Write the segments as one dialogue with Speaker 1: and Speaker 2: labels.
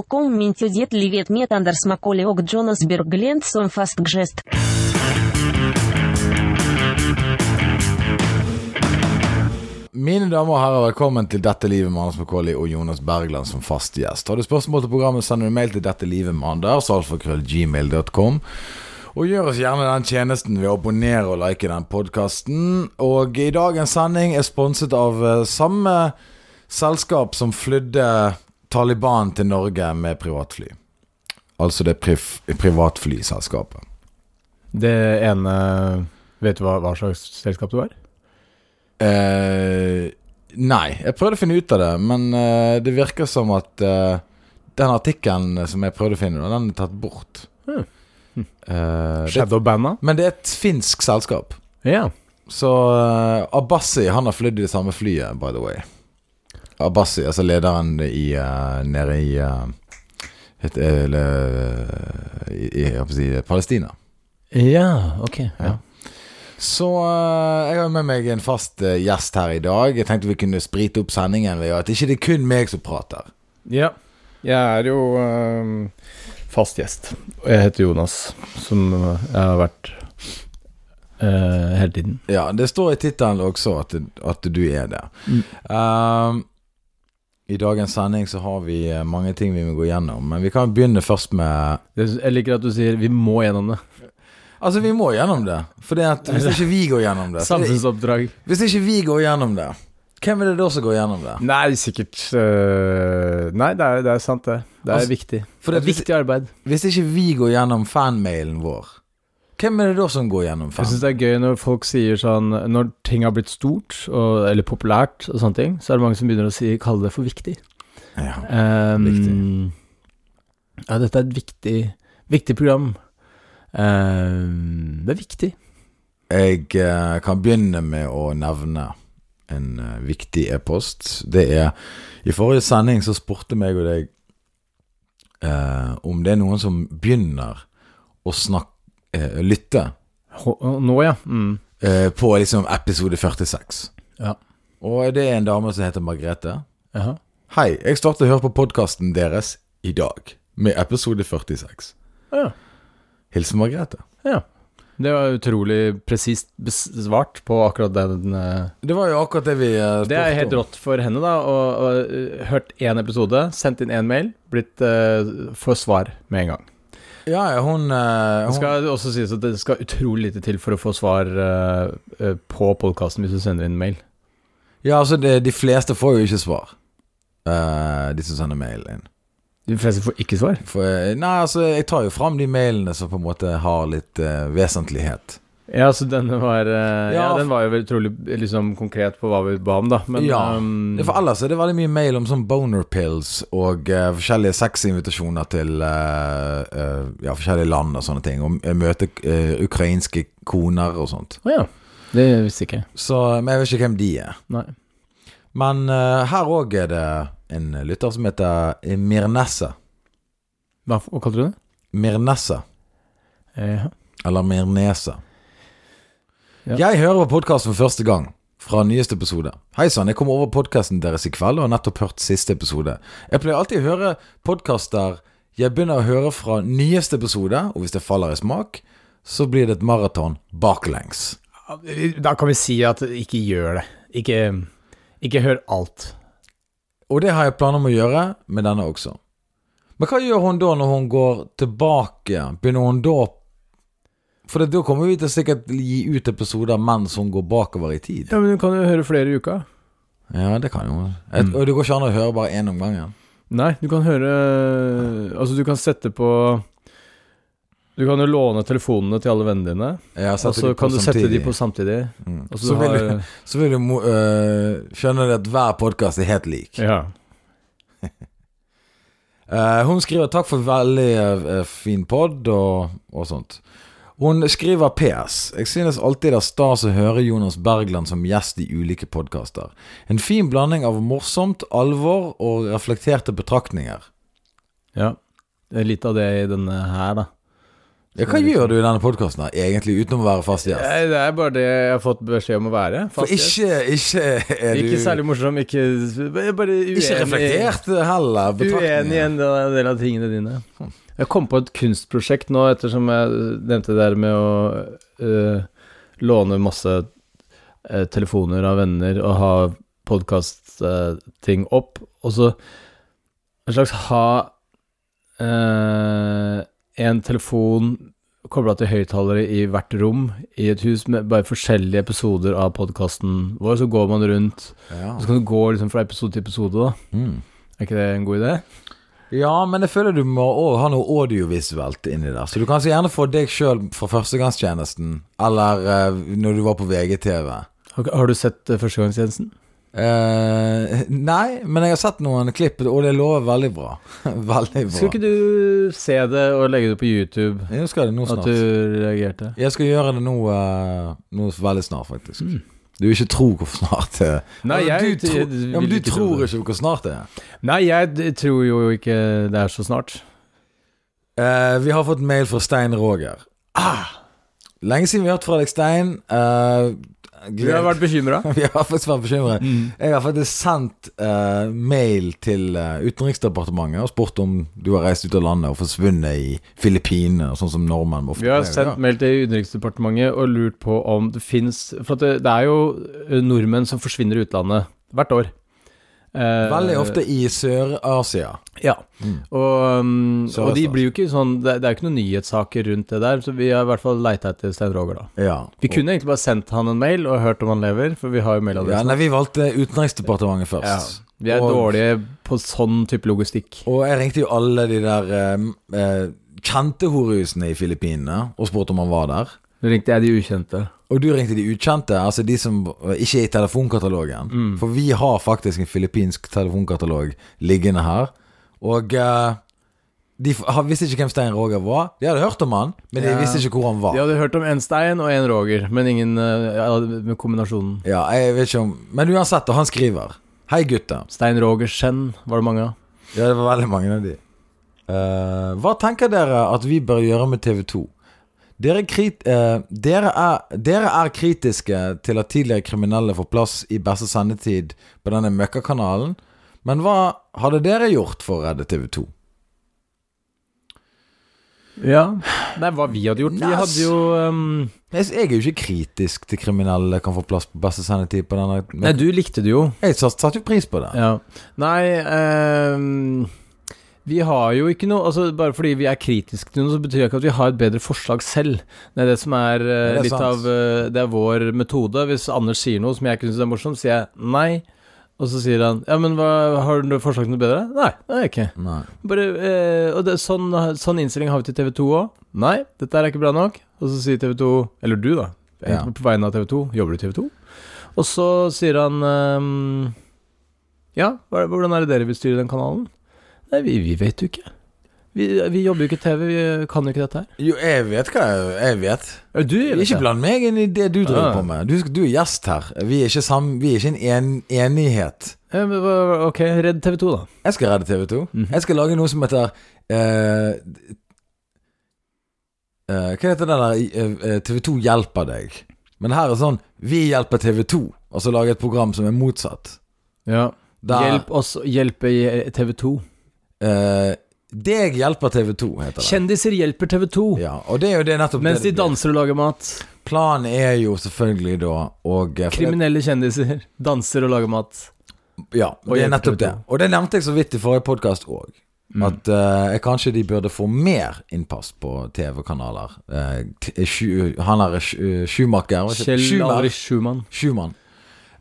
Speaker 1: Velkommen to det livet med Anders Macaulay och Jonas Berglund som fast gest.
Speaker 2: Mine damer og herrer, velkommen til Dette livet med Anders Macauley og Jonas Bergland som fast gjest. Har du spørsmål til programmet, sender du mail til dette livet med Anders, alfakrøllgmail.com. Og gjør oss gjerne den tjenesten ved å abonnere og like den podkasten. Og i dagens sending er sponset av eh, samme selskap som flydde Taliban til Norge med privatfly. Altså det prif privatflyselskapet.
Speaker 3: Det ene Vet du hva, hva slags selskap det var?
Speaker 2: Eh, nei, jeg prøvde å finne ut av det, men eh, det virker som at eh, den artikkelen som jeg prøvde å finne, den er tatt bort.
Speaker 3: Hmm. Hmm.
Speaker 2: Eh, det,
Speaker 3: Shadowbanda?
Speaker 2: men det er et finsk selskap.
Speaker 3: Ja.
Speaker 2: Så eh, Abbasi han har flydd i det samme flyet, by the way. Abbasi, altså lederen i, eh, nede i, eh, het, eller, eh, i, i jeg holdt på å si, Palestina.
Speaker 3: Ja, ok. Ja.
Speaker 2: Så eh, jeg har med meg en fast eh, gjest her i dag. Jeg tenkte vi kunne sprite opp sendingen ved at ikke det er kun meg som prater.
Speaker 3: ja. Jeg er jo ehm, fast gjest. Og jeg heter Jonas, som jeg har vært eh, hele tiden.
Speaker 2: Ja, det står i tittelen også at, at du er det.
Speaker 3: Mm.
Speaker 2: Um, I dagens sending så har vi eh, mange ting vi må gå gjennom, men vi kan begynne først med
Speaker 3: Det- Jeg liker at du sier 'vi må gjennom det'.
Speaker 2: Altså, vi må gjennom det. For det at hvis ikke vi går gjennom det, så det
Speaker 3: Samfunnsoppdrag.
Speaker 2: Hvis ikke vi går gjennom det, hvem er det da som går gjennom det?
Speaker 3: Nei, sikkert eh, Nei, det er, det er sant, det. Det er
Speaker 2: Altså,
Speaker 3: viktig.
Speaker 2: For det,
Speaker 3: det er
Speaker 2: hvis,
Speaker 3: viktig arbeid.
Speaker 2: hvis ikke vi går gjennom fanmailen vår, hvem er det da som går gjennom
Speaker 3: Jeg
Speaker 2: fanmailen?
Speaker 3: syns det er gøy når folk sier sånn Når ting har blitt stort, og, eller populært, og sånne ting, så er det mange som begynner å si, kalle det for viktig.
Speaker 2: Ja.
Speaker 3: Ehm,
Speaker 2: Viktig.
Speaker 3: Ja, dette er et viktig, viktig program. Ehm, det er viktig.
Speaker 2: Jeg eh, kan begynne med å nevne en eh, viktig e-post. Det er I forrige sending så spurte meg og deg eh, om det er noen som begynner å snakke eh, lytte
Speaker 3: Hå- å, Nå, ja. Mm.
Speaker 2: eh, på liksom episode 46.
Speaker 3: Ja.
Speaker 2: Og det er en dame som heter Margrethe.
Speaker 3: Jaha.
Speaker 2: Hei, jeg startet å høre på podkasten deres i dag med episode 46.
Speaker 3: Ja.
Speaker 2: Hilsen Margrethe.
Speaker 3: ja. Det var utrolig presist besvart på akkurat den eh,
Speaker 2: Det var jo akkurat det vi eh, spurte
Speaker 3: Det er helt
Speaker 2: om.
Speaker 3: rått for henne, da. Og, og eh, hørt én episode, sendt inn én mail, blitt uh, får svar med en gang.
Speaker 2: Ja, ja, hun, eh,
Speaker 3: Det
Speaker 2: hun
Speaker 3: skal også sies at det skal utrolig lite til for å få svar eh, eh, på podkasten hvis du sender inn mail.
Speaker 2: Ja, altså det, de fleste får jo ikke svar. Eh, de som sender mail inn.
Speaker 3: De fleste får ikke svar.
Speaker 2: For, eh, nei, altså jeg tar jo fram de mailene som på en måte har litt eh, vesentlighet.
Speaker 3: Ja, så denne var eh,
Speaker 2: Ja.
Speaker 3: ja. den var jo vel utrolig liksom, konkret på hva vi ba om, da. Men
Speaker 2: Ja.
Speaker 3: ehm,
Speaker 2: For ellers er det veldig mye mail om sånn boner pills og eh, forskjellige sexinvitasjoner til eh, eh, ja, forskjellige land og sånne ting. Og eh, møte eh, ukrainske koner og sånt.
Speaker 3: Å ja. Det visste ikke jeg.
Speaker 2: Så, men jeg vet ikke hvem de er.
Speaker 3: Nei.
Speaker 2: Men eh, her òg er det en lytter som heter Mirnesse.
Speaker 3: Hva, f- hva kalte du det?
Speaker 2: Mirnesse.
Speaker 3: Eh,
Speaker 2: Eller Mirnese.
Speaker 3: Ja.
Speaker 2: Jeg hører på podkast for første gang. Fra nyeste episode. Hei sann, jeg kom over podkasten deres i kveld og har nettopp hørt siste episode. Jeg pleier alltid å høre podkaster jeg begynner å høre fra nyeste episode, og hvis det faller i smak, så blir det et maraton baklengs.
Speaker 3: Da kan vi si at ikke gjør det. Ikke, ikke hør alt.
Speaker 2: Og det har jeg planer om å gjøre med denne også. Men hva gjør hun da når hun går tilbake? Begynner hun da For da kommer vi til sikkert gi ut episoder mens hun går bakover i tid.
Speaker 3: Ja, Men du kan jo høre flere i uka.
Speaker 2: Ja, det kan jo Et,
Speaker 3: Mm.
Speaker 2: Og det går ikke an å høre bare én om gangen.
Speaker 3: Nei, du kan høre Altså, du kan sette på Du kan jo låne telefonene til alle vennene dine,
Speaker 2: Ja,
Speaker 3: og så Altså, kan du sette de på samtidig.
Speaker 2: Mm.
Speaker 3: Og
Speaker 2: Så,
Speaker 3: så
Speaker 2: vil
Speaker 3: har-
Speaker 2: du, så vil du mo- øh, skjønne det at hver podkast er helt lik.
Speaker 3: Ja.
Speaker 2: Eh, hun skriver 'takk for veldig eh, fin pod' og, og sånt. Hun skriver PS. Jeg synes alltid det er stas å høre Jonas Bergland som gjest i ulike podkaster. En fin blanding av morsomt, alvor og reflekterte betraktninger.
Speaker 3: ja. Det er litt av det i denne her, da.
Speaker 2: Ja, hva gjør du i denne podkasten egentlig, utenom å være fast gjest?
Speaker 3: Nei, Det er bare det jeg har fått beskjed om å være.
Speaker 2: For
Speaker 3: fast gjest.
Speaker 2: ikke, ikke er du
Speaker 3: Ikke særlig morsom, ikke jeg er Bare
Speaker 2: Ikke reflektert heller.
Speaker 3: Uenig i
Speaker 2: betraktninger.
Speaker 3: en del av tingene dine. Sånn. Jeg kom på et kunstprosjekt nå, ettersom jeg nevnte det der med å øh, låne masse øh, telefoner av venner og ha podkast-ting opp, og så en slags ha øh, en telefon kobla til høyttalere i hvert rom i et hus med bare forskjellige episoder av podkasten vår, så går man rundt,
Speaker 2: Ja.
Speaker 3: og så kan du gå liksom fra episode til episode, da.
Speaker 2: Mm.
Speaker 3: Er ikke det en god idé?
Speaker 2: ja, men jeg føler du må å, ha noe audiovisuelt inni der. Så du kan så gjerne få deg sjøl fra førstegangstjenesten, eller eh, når du var på VGTV.
Speaker 3: Har, har du sett eh, Førstegangstjenesten?
Speaker 2: Eh, nei, men jeg har sett noen klipp, og det lover veldig bra. veldig bra.
Speaker 3: Skulle ikke du se det og legge det på YouTube?
Speaker 2: Jeg skal det nå
Speaker 3: At
Speaker 2: snart.
Speaker 3: du reagerte?
Speaker 2: Jeg skal gjøre det nå, eh, nå veldig snart, faktisk. Du vil ikke tro hvor snart det er.
Speaker 3: Mm. Nei,
Speaker 2: Ja, men
Speaker 3: jeg
Speaker 2: du, tro,
Speaker 3: vil
Speaker 2: ja, men du
Speaker 3: ikke tro
Speaker 2: tror
Speaker 3: det.
Speaker 2: ikke hvor snart det er.
Speaker 3: Nei, jeg d- tror jo ikke det er så snart.
Speaker 2: Eh, vi har fått mail fra Stein Roger. Ah! Lenge siden vi har hørt fra deg, Stein. Eh,
Speaker 3: Du har vært bekymra?
Speaker 2: vi har faktisk vært bekymret. Jeg har faktisk sendt eh, mail til eh, Utenriksdepartementet og spurt om du har reist ut av landet og forsvunnet i Filippinene, sånn som nordmenn ofte
Speaker 3: Vi har
Speaker 2: pleier å gjøre.
Speaker 3: sendt mail til Utenriksdepartementet og lurt på om det fins For at det, det er jo eh, nordmenn som forsvinner i utlandet hvert år. Eh,
Speaker 2: Veldig ofte i Sør-Asia.
Speaker 3: Ja. Og, um,
Speaker 2: Så
Speaker 3: og de
Speaker 2: restart.
Speaker 3: blir jo ikke sånn Det, det er jo ikke noen nyhetssaker rundt det der, så vi har i hvert fall leita etter Stein Roger, da.
Speaker 2: Ja.
Speaker 3: Vi kunne egentlig bare sendt han en mail og hørt om han lever, for vi har jo
Speaker 2: ja,
Speaker 3: mailadressen.
Speaker 2: nei, vi valgte Utenriksdepartementet
Speaker 3: Ja,
Speaker 2: først.
Speaker 3: vi er
Speaker 2: og,
Speaker 3: dårlige på sånn type logistikk.
Speaker 2: Og jeg ringte jo alle de der eh, eh, kjente horehusene i Filippinene og spurte om han var der.
Speaker 3: Nå ringte jeg de ukjente.
Speaker 2: Og du ringte de ukjente, altså de som ikke er i telefonkatalogen.
Speaker 3: Mm.
Speaker 2: For vi har faktisk en filippinsk telefonkatalog liggende her. Og eh, de f- ha- visste ikke hvem Stein Roger var. De hadde hørt om han, men de
Speaker 3: Ja.
Speaker 2: visste ikke hvor han var.
Speaker 3: De hadde hørt om én Stein og én Roger, men ingen eh, ja, med kombinasjonen.
Speaker 2: Ja, jeg vet ikke om Men uansett, og han skriver. Hei, gutter.
Speaker 3: Stein Rogersen var det mange av.
Speaker 2: Ja, det var veldig mange av de. Eh, hva tenker dere at vi bør gjøre med TV 2? Dere, krit, eh, dere, er, dere er kritiske til at tidligere kriminelle får plass i beste sendetid på denne møkkakanalen, men hva hadde dere gjort for å redde TV 2?
Speaker 3: Ja. Nei, hva vi hadde gjort? Vi
Speaker 2: Nas.
Speaker 3: hadde jo ehm,
Speaker 2: Jeg jeg er jo ikke kritisk til kriminelle kan få plass på beste sendetid på denne
Speaker 3: Nei,
Speaker 2: men
Speaker 3: du likte det jo.
Speaker 2: Jeg satte satte jo pris på det.
Speaker 3: Ja. Nei ehm, Vi har jo ikke noe altså Bare fordi vi er kritiske til noe, så betyr det ikke at vi har et bedre forslag selv. Det er det som er, eh,
Speaker 2: det er
Speaker 3: litt
Speaker 2: sant.
Speaker 3: av eh, Det er vår metode. Hvis Anders sier noe som jeg ikke syns er morsomt, sier jeg nei. Og så sier han Ja, men hva, har du noe forslag til noe bedre? Nei, det har jeg ikke.
Speaker 2: Nei.
Speaker 3: Bare, eh, og det, er sånn, sånn innstilling har vi til TV2 òg. Nei, dette her er ikke bra nok. Og så sier TV2 Eller du, da. Jeg
Speaker 2: Ja.
Speaker 3: er På vegne av TV2. Jobber du i TV2? Og så sier han ehm, Ja, hva- hvordan er det dere vil styre den kanalen? Nei, vi, vi vet jo ikke. Vi, vi jobber jo ikke i TV, vi kan jo ikke dette her.
Speaker 2: Jo, jeg vet hva jeg, jeg vet.
Speaker 3: Ja, Du vet
Speaker 2: Ikke
Speaker 3: det. Ah.
Speaker 2: bland meg inn i det du driver
Speaker 3: Ja.
Speaker 2: på med. Du, skal- du er gjest her. Vi er ikke, sam, vi er ikke en en, enighet.
Speaker 3: Ja, Eh, men hva- Ok, redd TV2, da.
Speaker 2: Jeg skal redde TV 2.
Speaker 3: Mhm.
Speaker 2: Jeg skal lage noe som heter eh, eh, Hva heter det der eh, TV 2 hjelper deg? Men her er sånn Vi hjelper TV 2. Og så lage et program som er motsatt.
Speaker 3: Ja.
Speaker 2: Der,
Speaker 3: Hjelp oss å hjelpe TV2.
Speaker 2: eh, Deg hjelper TV 2, heter det.
Speaker 3: Kjendiser hjelper TV2
Speaker 2: Ja, og det er jo det nettopp
Speaker 3: mens de
Speaker 2: det det blir.
Speaker 3: danser og lager mat.
Speaker 2: Planen er jo selvfølgelig da og, eh, for det-
Speaker 3: Kriminelle kjendiser danser og lager mat.
Speaker 2: Ja, det er
Speaker 3: hjelpe
Speaker 2: nettopp
Speaker 3: TV2.
Speaker 2: det. Og det nevnte jeg så vidt i forrige podkast òg.
Speaker 3: Mm.
Speaker 2: At eh, kanskje de burde få mer innpass på TV-kanaler. Eh, t- Schu- han er eh, Schu- Schumacher hva heter-
Speaker 3: Kjell
Speaker 2: Schumer.
Speaker 3: Aldrich Schumann.
Speaker 2: Schumann.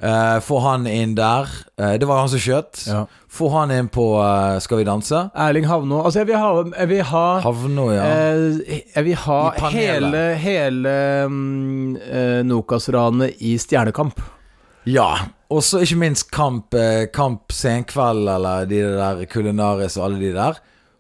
Speaker 2: Eh, få han inn der. Eh, det var jo han som skjøt.
Speaker 3: Ja.
Speaker 2: Få han inn på eh, Skal vi danse?
Speaker 3: Erling Havnå. Altså, jeg vil ha, jeg vil ha
Speaker 2: Havnå, ja.
Speaker 3: eh, Jeg vil ha
Speaker 2: I panelet.
Speaker 3: hele, hele mm, eh, Nokas-ranet i Stjernekamp.
Speaker 2: ja. Og så ikke minst Kamp, eh, kamp Senkveld eller de der Kulinaris og alle de der.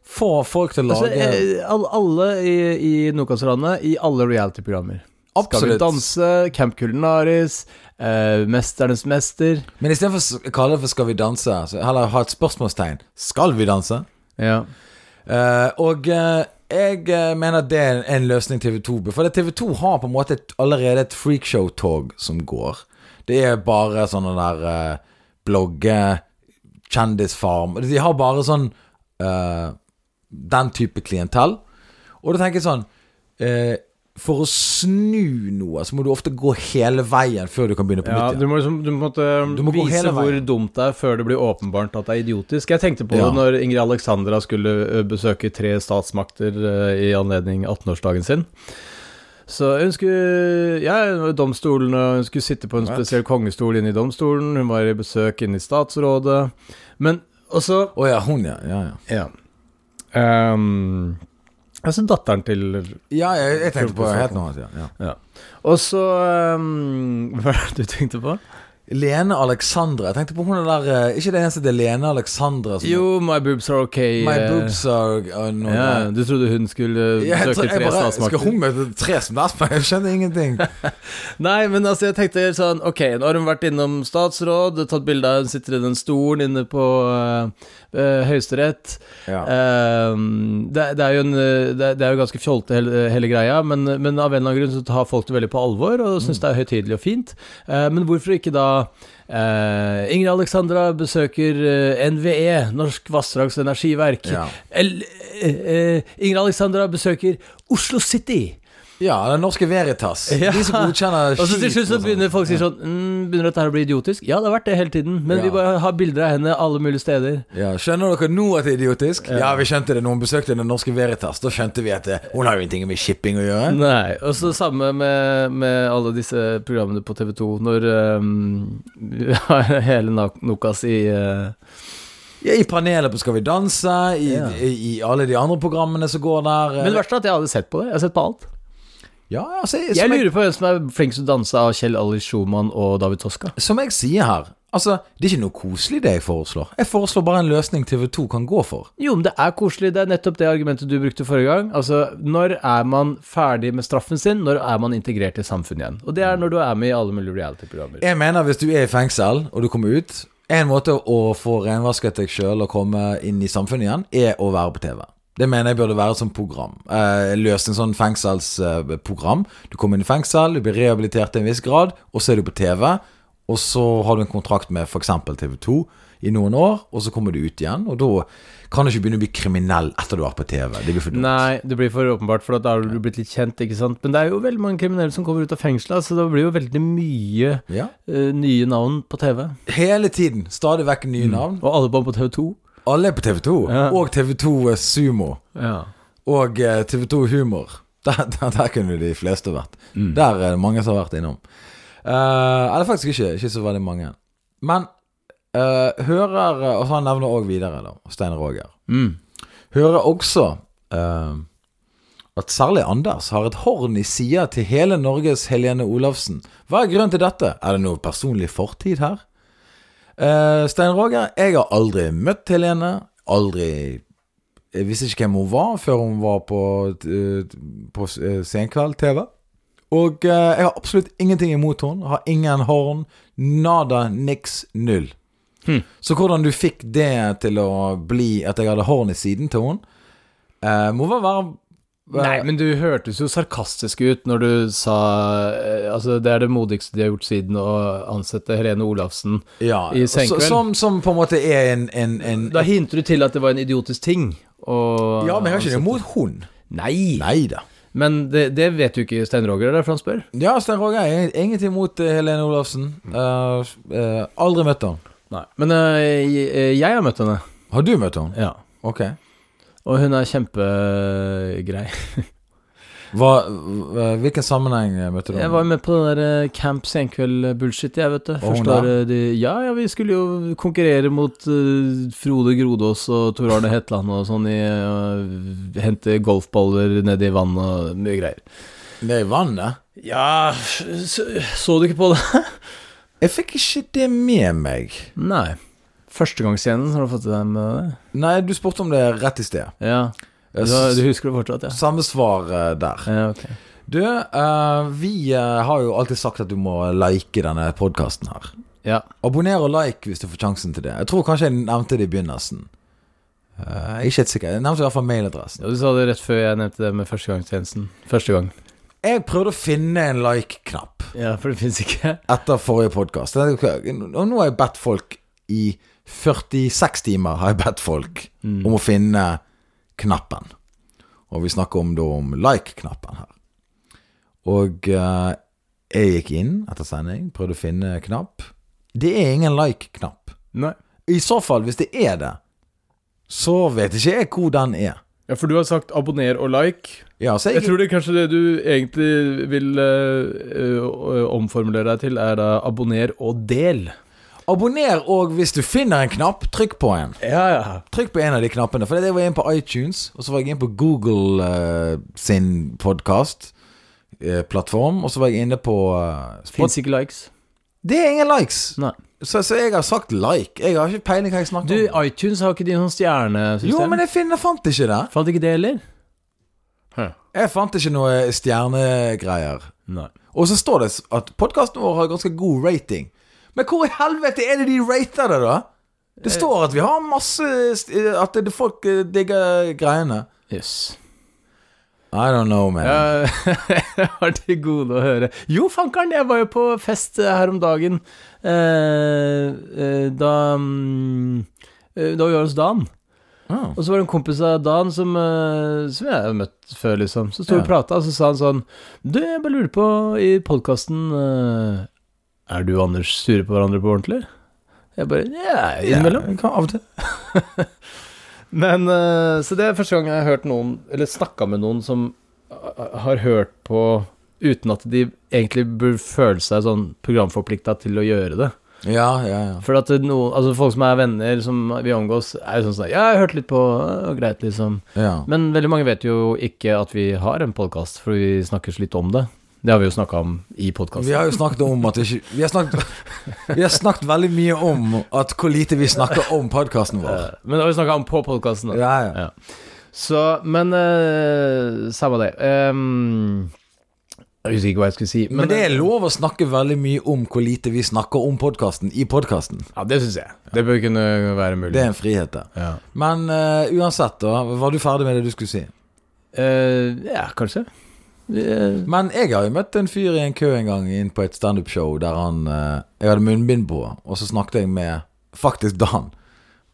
Speaker 2: Få folk til å
Speaker 3: Altså,
Speaker 2: lage
Speaker 3: eh, all- alle i, i Nokas-ranet i alle reality-programmer. Skal vi
Speaker 2: Absolutt.
Speaker 3: danse, Camp Culinaris, eh, Mesternes mester.
Speaker 2: Men istedenfor å kalle det for 'Skal vi danse', så heller ha et spørsmålstegn. Skal vi danse?
Speaker 3: Ja.
Speaker 2: Eh, og eh, Jeg eh, mener det er en løsning TV2 bør For det TV2 har på en måte et, allerede et freakshow-tog som går. Det er bare sånne der eh, blogge, kjendisfarm De har bare sånn eh, Den type klientell. Og da tenker jeg sånn eh, For å snu noe, så må du ofte gå hele veien før du kan begynne på
Speaker 3: Ja,
Speaker 2: nytt.
Speaker 3: du
Speaker 2: igjen.
Speaker 3: må liksom du må, på en måte
Speaker 2: Du må gå
Speaker 3: vise
Speaker 2: hele
Speaker 3: hvor
Speaker 2: veien.
Speaker 3: dumt det er før det blir åpenbart at det er idiotisk. Jeg tenkte på
Speaker 2: Ja.
Speaker 3: det når Ingrid Alexandra skulle ø, besøke tre statsmakter ø, i anledning 18-årsdagen sin. Så hun skulle Ja, hun var i domstolen, og hun skulle sitte på en
Speaker 2: Right.
Speaker 3: spesiell kongestol inne i domstolen. Hun var i besøk inne i statsrådet. Men også
Speaker 2: Å ja, hun, ja. Ja, ja.
Speaker 3: Ja. Ehm, altså datteren til
Speaker 2: ja jeg, jeg tenkte på helt noe annet. Ja, ja.
Speaker 3: Ja. Og så ehm, Hva er det du tenkte på?
Speaker 2: Lene Alexandra. Jeg tenkte på hun der eh, Ikke det eneste det er Lene Alexandra som
Speaker 3: Jo, my boobs are okay.
Speaker 2: My
Speaker 3: eh,
Speaker 2: boobs are uh, no,
Speaker 3: Ja, du trodde hun skulle eh,
Speaker 2: Jeg, jeg,
Speaker 3: søke
Speaker 2: jeg
Speaker 3: tre
Speaker 2: bare, skal
Speaker 3: statsmakter?
Speaker 2: hun møte tre statsmakter? Jeg skjønner ingenting.
Speaker 3: Nei, men altså, jeg tenkte sånn Ok, nå har hun vært innom statsråd, tatt bilde av hun sitter i den stolen inne på eh, eh, Høyesterett.
Speaker 2: Ja.
Speaker 3: Eh, det, det, er jo en, eh, det, det er jo ganske fjolte hele, hele greia, men, men av en eller annen grunn så tar folk det veldig på alvor og
Speaker 2: Mm.
Speaker 3: syns det er høytidelig og fint. Eh, men hvorfor ikke da eh, Ingrid Alexandra besøker eh, NVE, Norsk vassdrags- og energiverk.
Speaker 2: Ja.
Speaker 3: El, eh, eh, Ingrid Alexandra besøker Oslo City.
Speaker 2: ja, den norske Veritas.
Speaker 3: Ja.
Speaker 2: De som godkjenner
Speaker 3: Og så til slutt så
Speaker 2: og sånt.
Speaker 3: begynner folk å si sånn mm, Begynner dette her å bli idiotisk? Ja, det har vært det hele tiden, men
Speaker 2: Ja.
Speaker 3: vi bare har bilder av henne alle mulige steder.
Speaker 2: ja, Skjønner dere nå at det er idiotisk? Ja, vi skjønte det når hun besøkte den norske Veritas. Da skjønte vi at det, hun har jo ingenting med shipping å gjøre.
Speaker 3: Nei. Og så samme med, med alle disse programmene på TV2, når ehm, vi har hele Nak- Nokas i eh,
Speaker 2: Ja, I panelet på Skal vi danse, i,
Speaker 3: Ja.
Speaker 2: i, i alle de andre programmene som går der. eh,
Speaker 3: Men det verste er at jeg hadde sett på det. Jeg har sett på alt.
Speaker 2: ja, altså, som
Speaker 3: Jeg lurer på hvem som er flinkest til å danse av Kjell Ali Schumann og David Toska.
Speaker 2: Som jeg sier her, altså, det er ikke noe koselig det jeg foreslår. Jeg foreslår bare en løsning TV2 kan gå for.
Speaker 3: Jo, men det er koselig. Det er nettopp det argumentet du brukte forrige gang. Altså, når er man ferdig med straffen sin? Når er man integrert i samfunnet igjen? Og det er når du er med i alle mulige reality-programmer.
Speaker 2: Jeg mener hvis du er i fengsel, og du kommer ut En måte å få renvasket deg sjøl og komme inn i samfunnet igjen, er å være på TV. Det mener jeg burde være som program. Eh, løsning sånn fengselsprogram. Du kommer inn i fengsel, du blir rehabilitert til en viss grad, og så er du på TV. Og så har du en kontrakt med f.eks. TV 2 i noen år, og så kommer du ut igjen. Og da kan du ikke begynne å bli kriminell etter du har vært på TV. Det blir for dumt.
Speaker 3: Nei, det blir for åpenbart, for at da har du blitt litt kjent, ikke sant. Men det er jo veldig mange kriminelle som kommer ut av fengsla, så det blir jo veldig mye
Speaker 2: Ja.
Speaker 3: eh, nye navn på TV.
Speaker 2: Hele tiden. Stadig vekk nye navn.
Speaker 3: Og alle bare på TV 2.
Speaker 2: Alle er på TV2.
Speaker 3: Ja.
Speaker 2: Og TV2 Sumo. Og eh, TV2 Humor. Der, der, der kunne de fleste vært. Der er det mange som har vært innom. Eh, eller faktisk ikke. Ikke så veldig mange. Men eh, hører Og så han nevner òg videre, da. Stein Roger.
Speaker 3: Mm.
Speaker 2: Hører også eh, at særlig Anders har et horn i sida til hele Norges Helene Olafsen. Hva er grunnen til dette? Er det noe personlig fortid her? Eh, Stein Roger, jeg har aldri møtt Helene. Aldri Jeg visste ikke hvem hun var før hun var på, eh, på eh, Senkveld-TV. Og eh, jeg har absolutt ingenting imot henne. Har ingen horn. Nada, niks, null. Så hvordan du fikk det til å bli at jeg hadde horn i siden til henne, eh, må vel være
Speaker 3: Nei, men du hørtes jo sarkastisk ut når du sa eh, Altså, det er det modigste de har gjort siden å ansette Helene Olafsen.
Speaker 2: ja,
Speaker 3: i Senkveld.
Speaker 2: så- Som, som på en måte er en, en, en
Speaker 3: Da hinter du til at det var en idiotisk ting. Og
Speaker 2: Ja, men jeg har ikke det imot hun.
Speaker 3: Nei!
Speaker 2: Nei da.
Speaker 3: Men det, det vet jo ikke Stein Roger, det er derfor han spør.
Speaker 2: Ja, Stein Roger, jeg har ingenting imot eh, Helene Olafsen. Eh, eh, aldri møtt henne.
Speaker 3: Nei. Men eh, jeg, jeg har møtt henne.
Speaker 2: Har du møtt henne?
Speaker 3: Ja.
Speaker 2: Ok.
Speaker 3: Og hun er kjempegrei.
Speaker 2: Hva, eh, hvilken sammenheng eh, møtte du
Speaker 3: Jeg var med på den der eh, Camp Senkveld-bullshit, jeg, vet du.
Speaker 2: hun
Speaker 3: Første
Speaker 2: da?
Speaker 3: året de Ja, ja, vi skulle jo konkurrere mot eh, Frode Grodås og Tor Arne Hetland og sånn i eh, Hente golfballer nedi vann og mye greier.
Speaker 2: Ned i vannet?
Speaker 3: Ja Så, så du ikke på det?
Speaker 2: Jeg fikk ikke det med meg.
Speaker 3: Nei. Førstegangsscenen, har du fått deg med det?
Speaker 2: Nei, du spurte om det rett i sted.
Speaker 3: Ja. Du,
Speaker 2: Jeg
Speaker 3: har- du
Speaker 2: s-
Speaker 3: husker det fortsatt, ja?
Speaker 2: Samme svar eh, der.
Speaker 3: Ja, ok.
Speaker 2: Du, eh, vi eh, har jo alltid sagt at du må like denne podkasten her.
Speaker 3: Ja.
Speaker 2: Abonner og like hvis du får sjansen til det. Jeg tror kanskje jeg nevnte det i begynnelsen. Eh, Jeg er ikke helt sikker. Jeg nevnte i hvert fall mailadressen.
Speaker 3: Ja, du sa det rett før jeg nevnte det med førstegangstjenesten. Første gang.
Speaker 2: Jeg prøvde å finne en like-knapp
Speaker 3: Ja, for det fins ikke.
Speaker 2: etter forrige podkast. Og nå har jeg bedt folk i 46 timer har jeg bedt folk om å finne knappen. Og vi snakker om, da om like-knappen her. Og eh, jeg gikk inn etter sending, prøvde å finne knapp. Det er ingen like-knapp.
Speaker 3: Nei.
Speaker 2: I så fall, hvis det er det, så vet ikke jeg hvor den er.
Speaker 3: Ja, for du har sagt abonner og like.
Speaker 2: Ja, så
Speaker 3: Jeg
Speaker 2: jeg,
Speaker 3: tror det er kanskje det du egentlig vil eh, ø- ø- omformulere deg til, er da abonner og del.
Speaker 2: abonner, og hvis du finner en knapp, trykk på en.
Speaker 3: Ja, ja.
Speaker 2: Trykk på en av de knappene. For jeg var inne på iTunes, og så var jeg inne på Google eh, sin podkast-plattform. og så var jeg inne på eh, Spot-
Speaker 3: Fins ikke likes.
Speaker 2: Det er ingen likes!
Speaker 3: Nei.
Speaker 2: Så, så jeg har sagt like. Jeg har ikke peiling hva jeg
Speaker 3: Du,
Speaker 2: snakker om.
Speaker 3: iTunes har ikke de noen stjernesystem?
Speaker 2: Jo, men jeg finner, fant ikke det.
Speaker 3: Fant ikke det heller? Hæ.
Speaker 2: Jeg fant ikke noe stjernegreier.
Speaker 3: Nei.
Speaker 2: Og så står det at podkasten vår har ganske god rating. Men hvor i helvete er det de rater det, da? Det
Speaker 3: Eh,
Speaker 2: står at vi har masse st- At det- folk eh, digger greiene.
Speaker 3: Jøss. Yes.
Speaker 2: I don't know, man.
Speaker 3: Jeg har til gode å høre. Jo, fankeren, jeg var jo på fest eh, her om dagen. Eh, eh, da mm, eh, Da vi var hos Dan.
Speaker 2: Ah.
Speaker 3: Og så var det en kompis av Dan som, eh, som jeg har møtt før, liksom. Så sto vi
Speaker 2: Ja.
Speaker 3: og prata, og så sa han sånn Du, jeg bare lurer på, i podkasten eh, Er du og Anders sure på hverandre på ordentlig? Jeg bare Ja, innimellom.
Speaker 2: Ja, kan- av og til.
Speaker 3: Men eh, Så det er første gang jeg har hørt noen, eller snakka med noen som eh, har hørt på uten at de egentlig burde føle seg sånn programforplikta til å gjøre det.
Speaker 2: Ja, ja, ja.
Speaker 3: For at det er noen, altså folk som er venner, som vi omgås, er jo sånn sånn Ja, jeg har hørt litt på, eh, greit, liksom.
Speaker 2: ja.
Speaker 3: Men veldig mange vet jo ikke at vi har en podkast, for vi snakker så litt om det. Det har vi jo snakka om i
Speaker 2: Vi
Speaker 3: podkasten.
Speaker 2: har jo snakket om at ikke Vi har snakket, vi har snakket veldig mye om at hvor lite vi snakker om podkasten vår.
Speaker 3: Eh, Men det har vi snakka om på podkasten.
Speaker 2: Ja, ja.
Speaker 3: Så, men eh, Samme det. Ehm, jeg husker ikke hva jeg skulle si. eh,
Speaker 2: Men det er lov å snakke veldig mye om hvor lite vi snakker om podkasten i podkasten.
Speaker 3: Ja, det syns jeg. Det bør kunne være mulig.
Speaker 2: Det er en frihet, det.
Speaker 3: Ja.
Speaker 2: Men eh, uansett, da. Var du ferdig med det du skulle si?
Speaker 3: Eh, ja, kanskje. Eh,
Speaker 2: Men jeg har jo møtt en fyr i en kø en gang inn på et standup-show der han eh, Jeg hadde munnbind på, og så snakket jeg med faktisk Dan.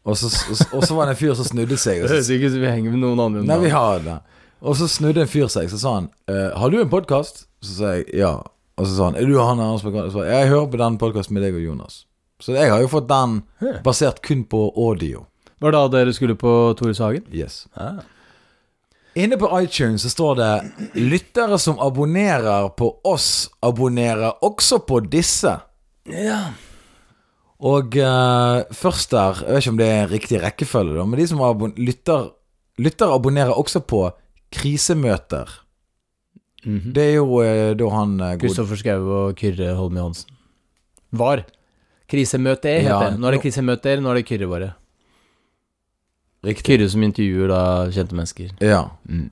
Speaker 2: Og så, og, så var det en fyr som snudde seg.
Speaker 3: det
Speaker 2: Og så
Speaker 3: høres ikke ut som vi henger med noen andre. enn
Speaker 2: Nei, vi
Speaker 3: da.
Speaker 2: har det. Og så snudde en fyr seg, så sa han «Eh, Har du en podkast? Så sa jeg ja. Og så sa han Er du han Anders Bakan? Så sa jeg «Ja, jeg hører på den podkasten med deg og Jonas. Så jeg har jo fått den basert kun på audio.
Speaker 3: Var det da dere skulle på Tores Hagen?
Speaker 2: Yes.
Speaker 3: Ah.
Speaker 2: Inne på iTunes så står det 'Lyttere som abonnerer på oss, abonnerer også på disse'.
Speaker 3: Ja.
Speaker 2: Og eh, først der Jeg vet ikke om det er en riktig rekkefølge, da, men de som abon lytter, lytter abonnerer også på krisemøter. Det er jo eh, da han eh, god-
Speaker 3: Kristoffer Schou og Kyrre Holm Johansen. Var. Krisemøte heter
Speaker 2: Ja.
Speaker 3: det. Nå er det krisemøter, nå er det Kyrre bare.
Speaker 2: Riktig.
Speaker 3: Kyrre som intervjuer da kjente mennesker.
Speaker 2: Ja.
Speaker 3: Mm.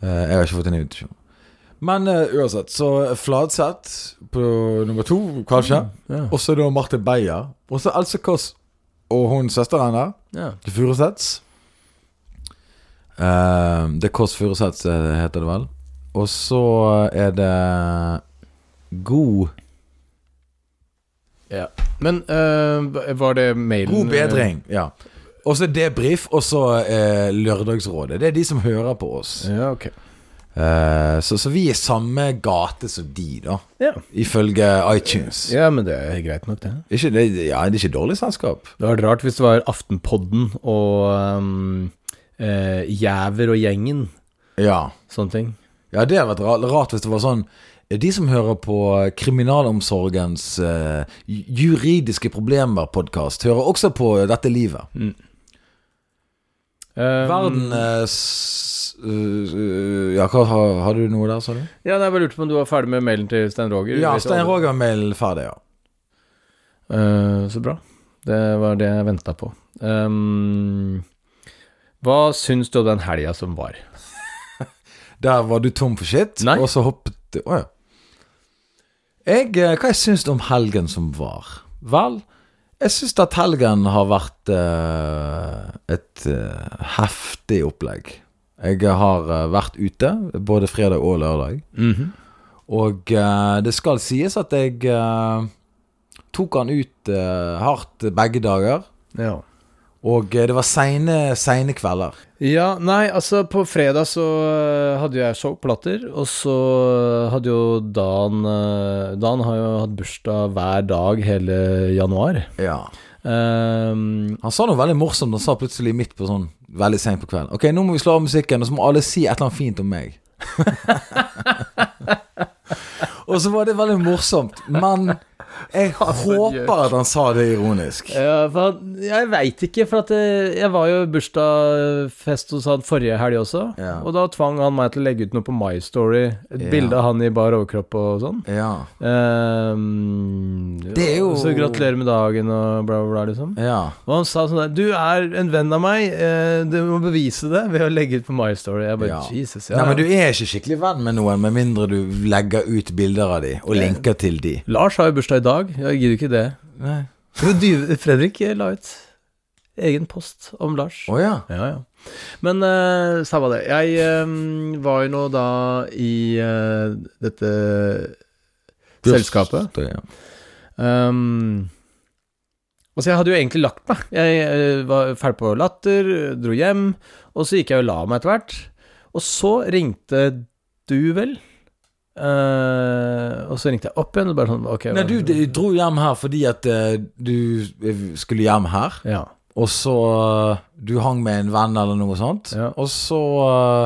Speaker 2: Eh, jeg har ikke fått en invitasjon. Men eh, uansett, så Fladseth på nummer to, kanskje.
Speaker 3: Mm, Ja.
Speaker 2: Og så da Martin Beyer. Og så Else Kåss og hun søsteren der.
Speaker 3: ja.
Speaker 2: til Furuseths. Eh, det er Kåss Furuseths, eh, heter det vel. Og så er det God
Speaker 3: ja. Men eh, var det mailen
Speaker 2: God bedring. Ja. Og så debrief, og så eh, Lørdagsrådet. Det er de som hører på oss.
Speaker 3: øh, Ja, ok.
Speaker 2: Eh, så, så vi er samme gate som de, da.
Speaker 3: Ja.
Speaker 2: Ifølge iTunes.
Speaker 3: ja, men det er greit nok, det.
Speaker 2: Ikke, det, ja, det er ikke dårlig selskap.
Speaker 3: Det hadde vært rart hvis det var Aftenpodden og um, eh, Jæver og gjengen,
Speaker 2: Ja.
Speaker 3: sånne ting.
Speaker 2: Ja, det hadde vært ra- rart hvis det var sånn De som hører på eh, Kriminalomsorgens eh, ju- juridiske problemer-podkast, hører også på eh, Dette livet.
Speaker 3: Mm. Um,
Speaker 2: Verden eh, s, eh, Ja, hva, har, har du noe der, sa du?
Speaker 3: Ja, nei, jeg bare lurte på om du var ferdig med mailen til Stein Roger.
Speaker 2: Ja,
Speaker 3: Du vet jo
Speaker 2: Stein
Speaker 3: aldri.
Speaker 2: Roger er mail ferdig, ja.
Speaker 3: Eh, så bra. Det var det jeg venta på. Um, hva syns du om den helga som var?
Speaker 2: Der var du tom for shit,
Speaker 3: Nei.
Speaker 2: og så hoppet du Å ja. Jeg, eh, hva jeg syns om helgen som var? Vel, Jeg syns at helgen har vært eh, et eh, heftig opplegg. Jeg har eh, vært ute både fredag og lørdag.
Speaker 3: Mhm.
Speaker 2: Og eh, det skal sies at jeg eh, tok han ut eh, hardt begge dager.
Speaker 3: Ja.
Speaker 2: Og eh, det var seine, seine kvelder.
Speaker 3: Ja, nei, altså på fredag så øh, hadde jo jeg showplater, og så øh, hadde jo Dan øh, Dan har jo hatt bursdag hver dag hele januar.
Speaker 2: Ja.
Speaker 3: Ehm,
Speaker 2: Han sa noe veldig morsomt. Han sa plutselig midt på sånn veldig seint på kvelden Ok, nå må vi slå av musikken, og så må alle si et eller annet fint om meg. og så var det veldig morsomt, men jeg håper at han sa det ironisk.
Speaker 3: ja, for han- jeg veit ikke, for at eh, jeg, jeg var jo i bursdagsfest hos han forrige helg også,
Speaker 2: Ja.
Speaker 3: og da tvang han meg til å legge ut noe på My Story. Et
Speaker 2: Ja.
Speaker 3: bilde av han i bar overkropp og sånn.
Speaker 2: Ja.
Speaker 3: Ehm,
Speaker 2: Det er jo-
Speaker 3: Så gratulerer med dagen og bla, bla, bla, liksom.
Speaker 2: Ja.
Speaker 3: Og han sa sånn der Du er en venn av meg, eh, du må bevise det ved å legge ut på My Story. Jeg bare
Speaker 2: Ja.
Speaker 3: Jesus, ja.
Speaker 2: Nei, men du er ikke skikkelig venn med noen, med mindre du legger ut bilder av de og linker til de.
Speaker 3: Lars har jo bursdag i dag, jeg gidder ikke det.
Speaker 2: Nei.
Speaker 3: Jo, du, Fredrik eh, la ut egen post om Lars.
Speaker 2: Å ja.
Speaker 3: Ja, ja. Men uh, samme det. Jeg eh, var jo nå da i eh, dette selskapet.
Speaker 2: Det, ja.
Speaker 3: Um, altså, jeg hadde jo egentlig lagt meg. Jeg eh, var ferdig på latter, dro hjem, og så gikk jeg og la meg etter hvert. Og så ringte du, vel? Eh, og så ringte jeg opp igjen, og bare sånn Ok.
Speaker 2: Nei, du
Speaker 3: hva-
Speaker 2: d- dro hjem her fordi at eh, du eh, skulle hjem her,
Speaker 3: Ja.
Speaker 2: og så eh, Du hang med en venn eller noe sånt,
Speaker 3: Ja.
Speaker 2: og så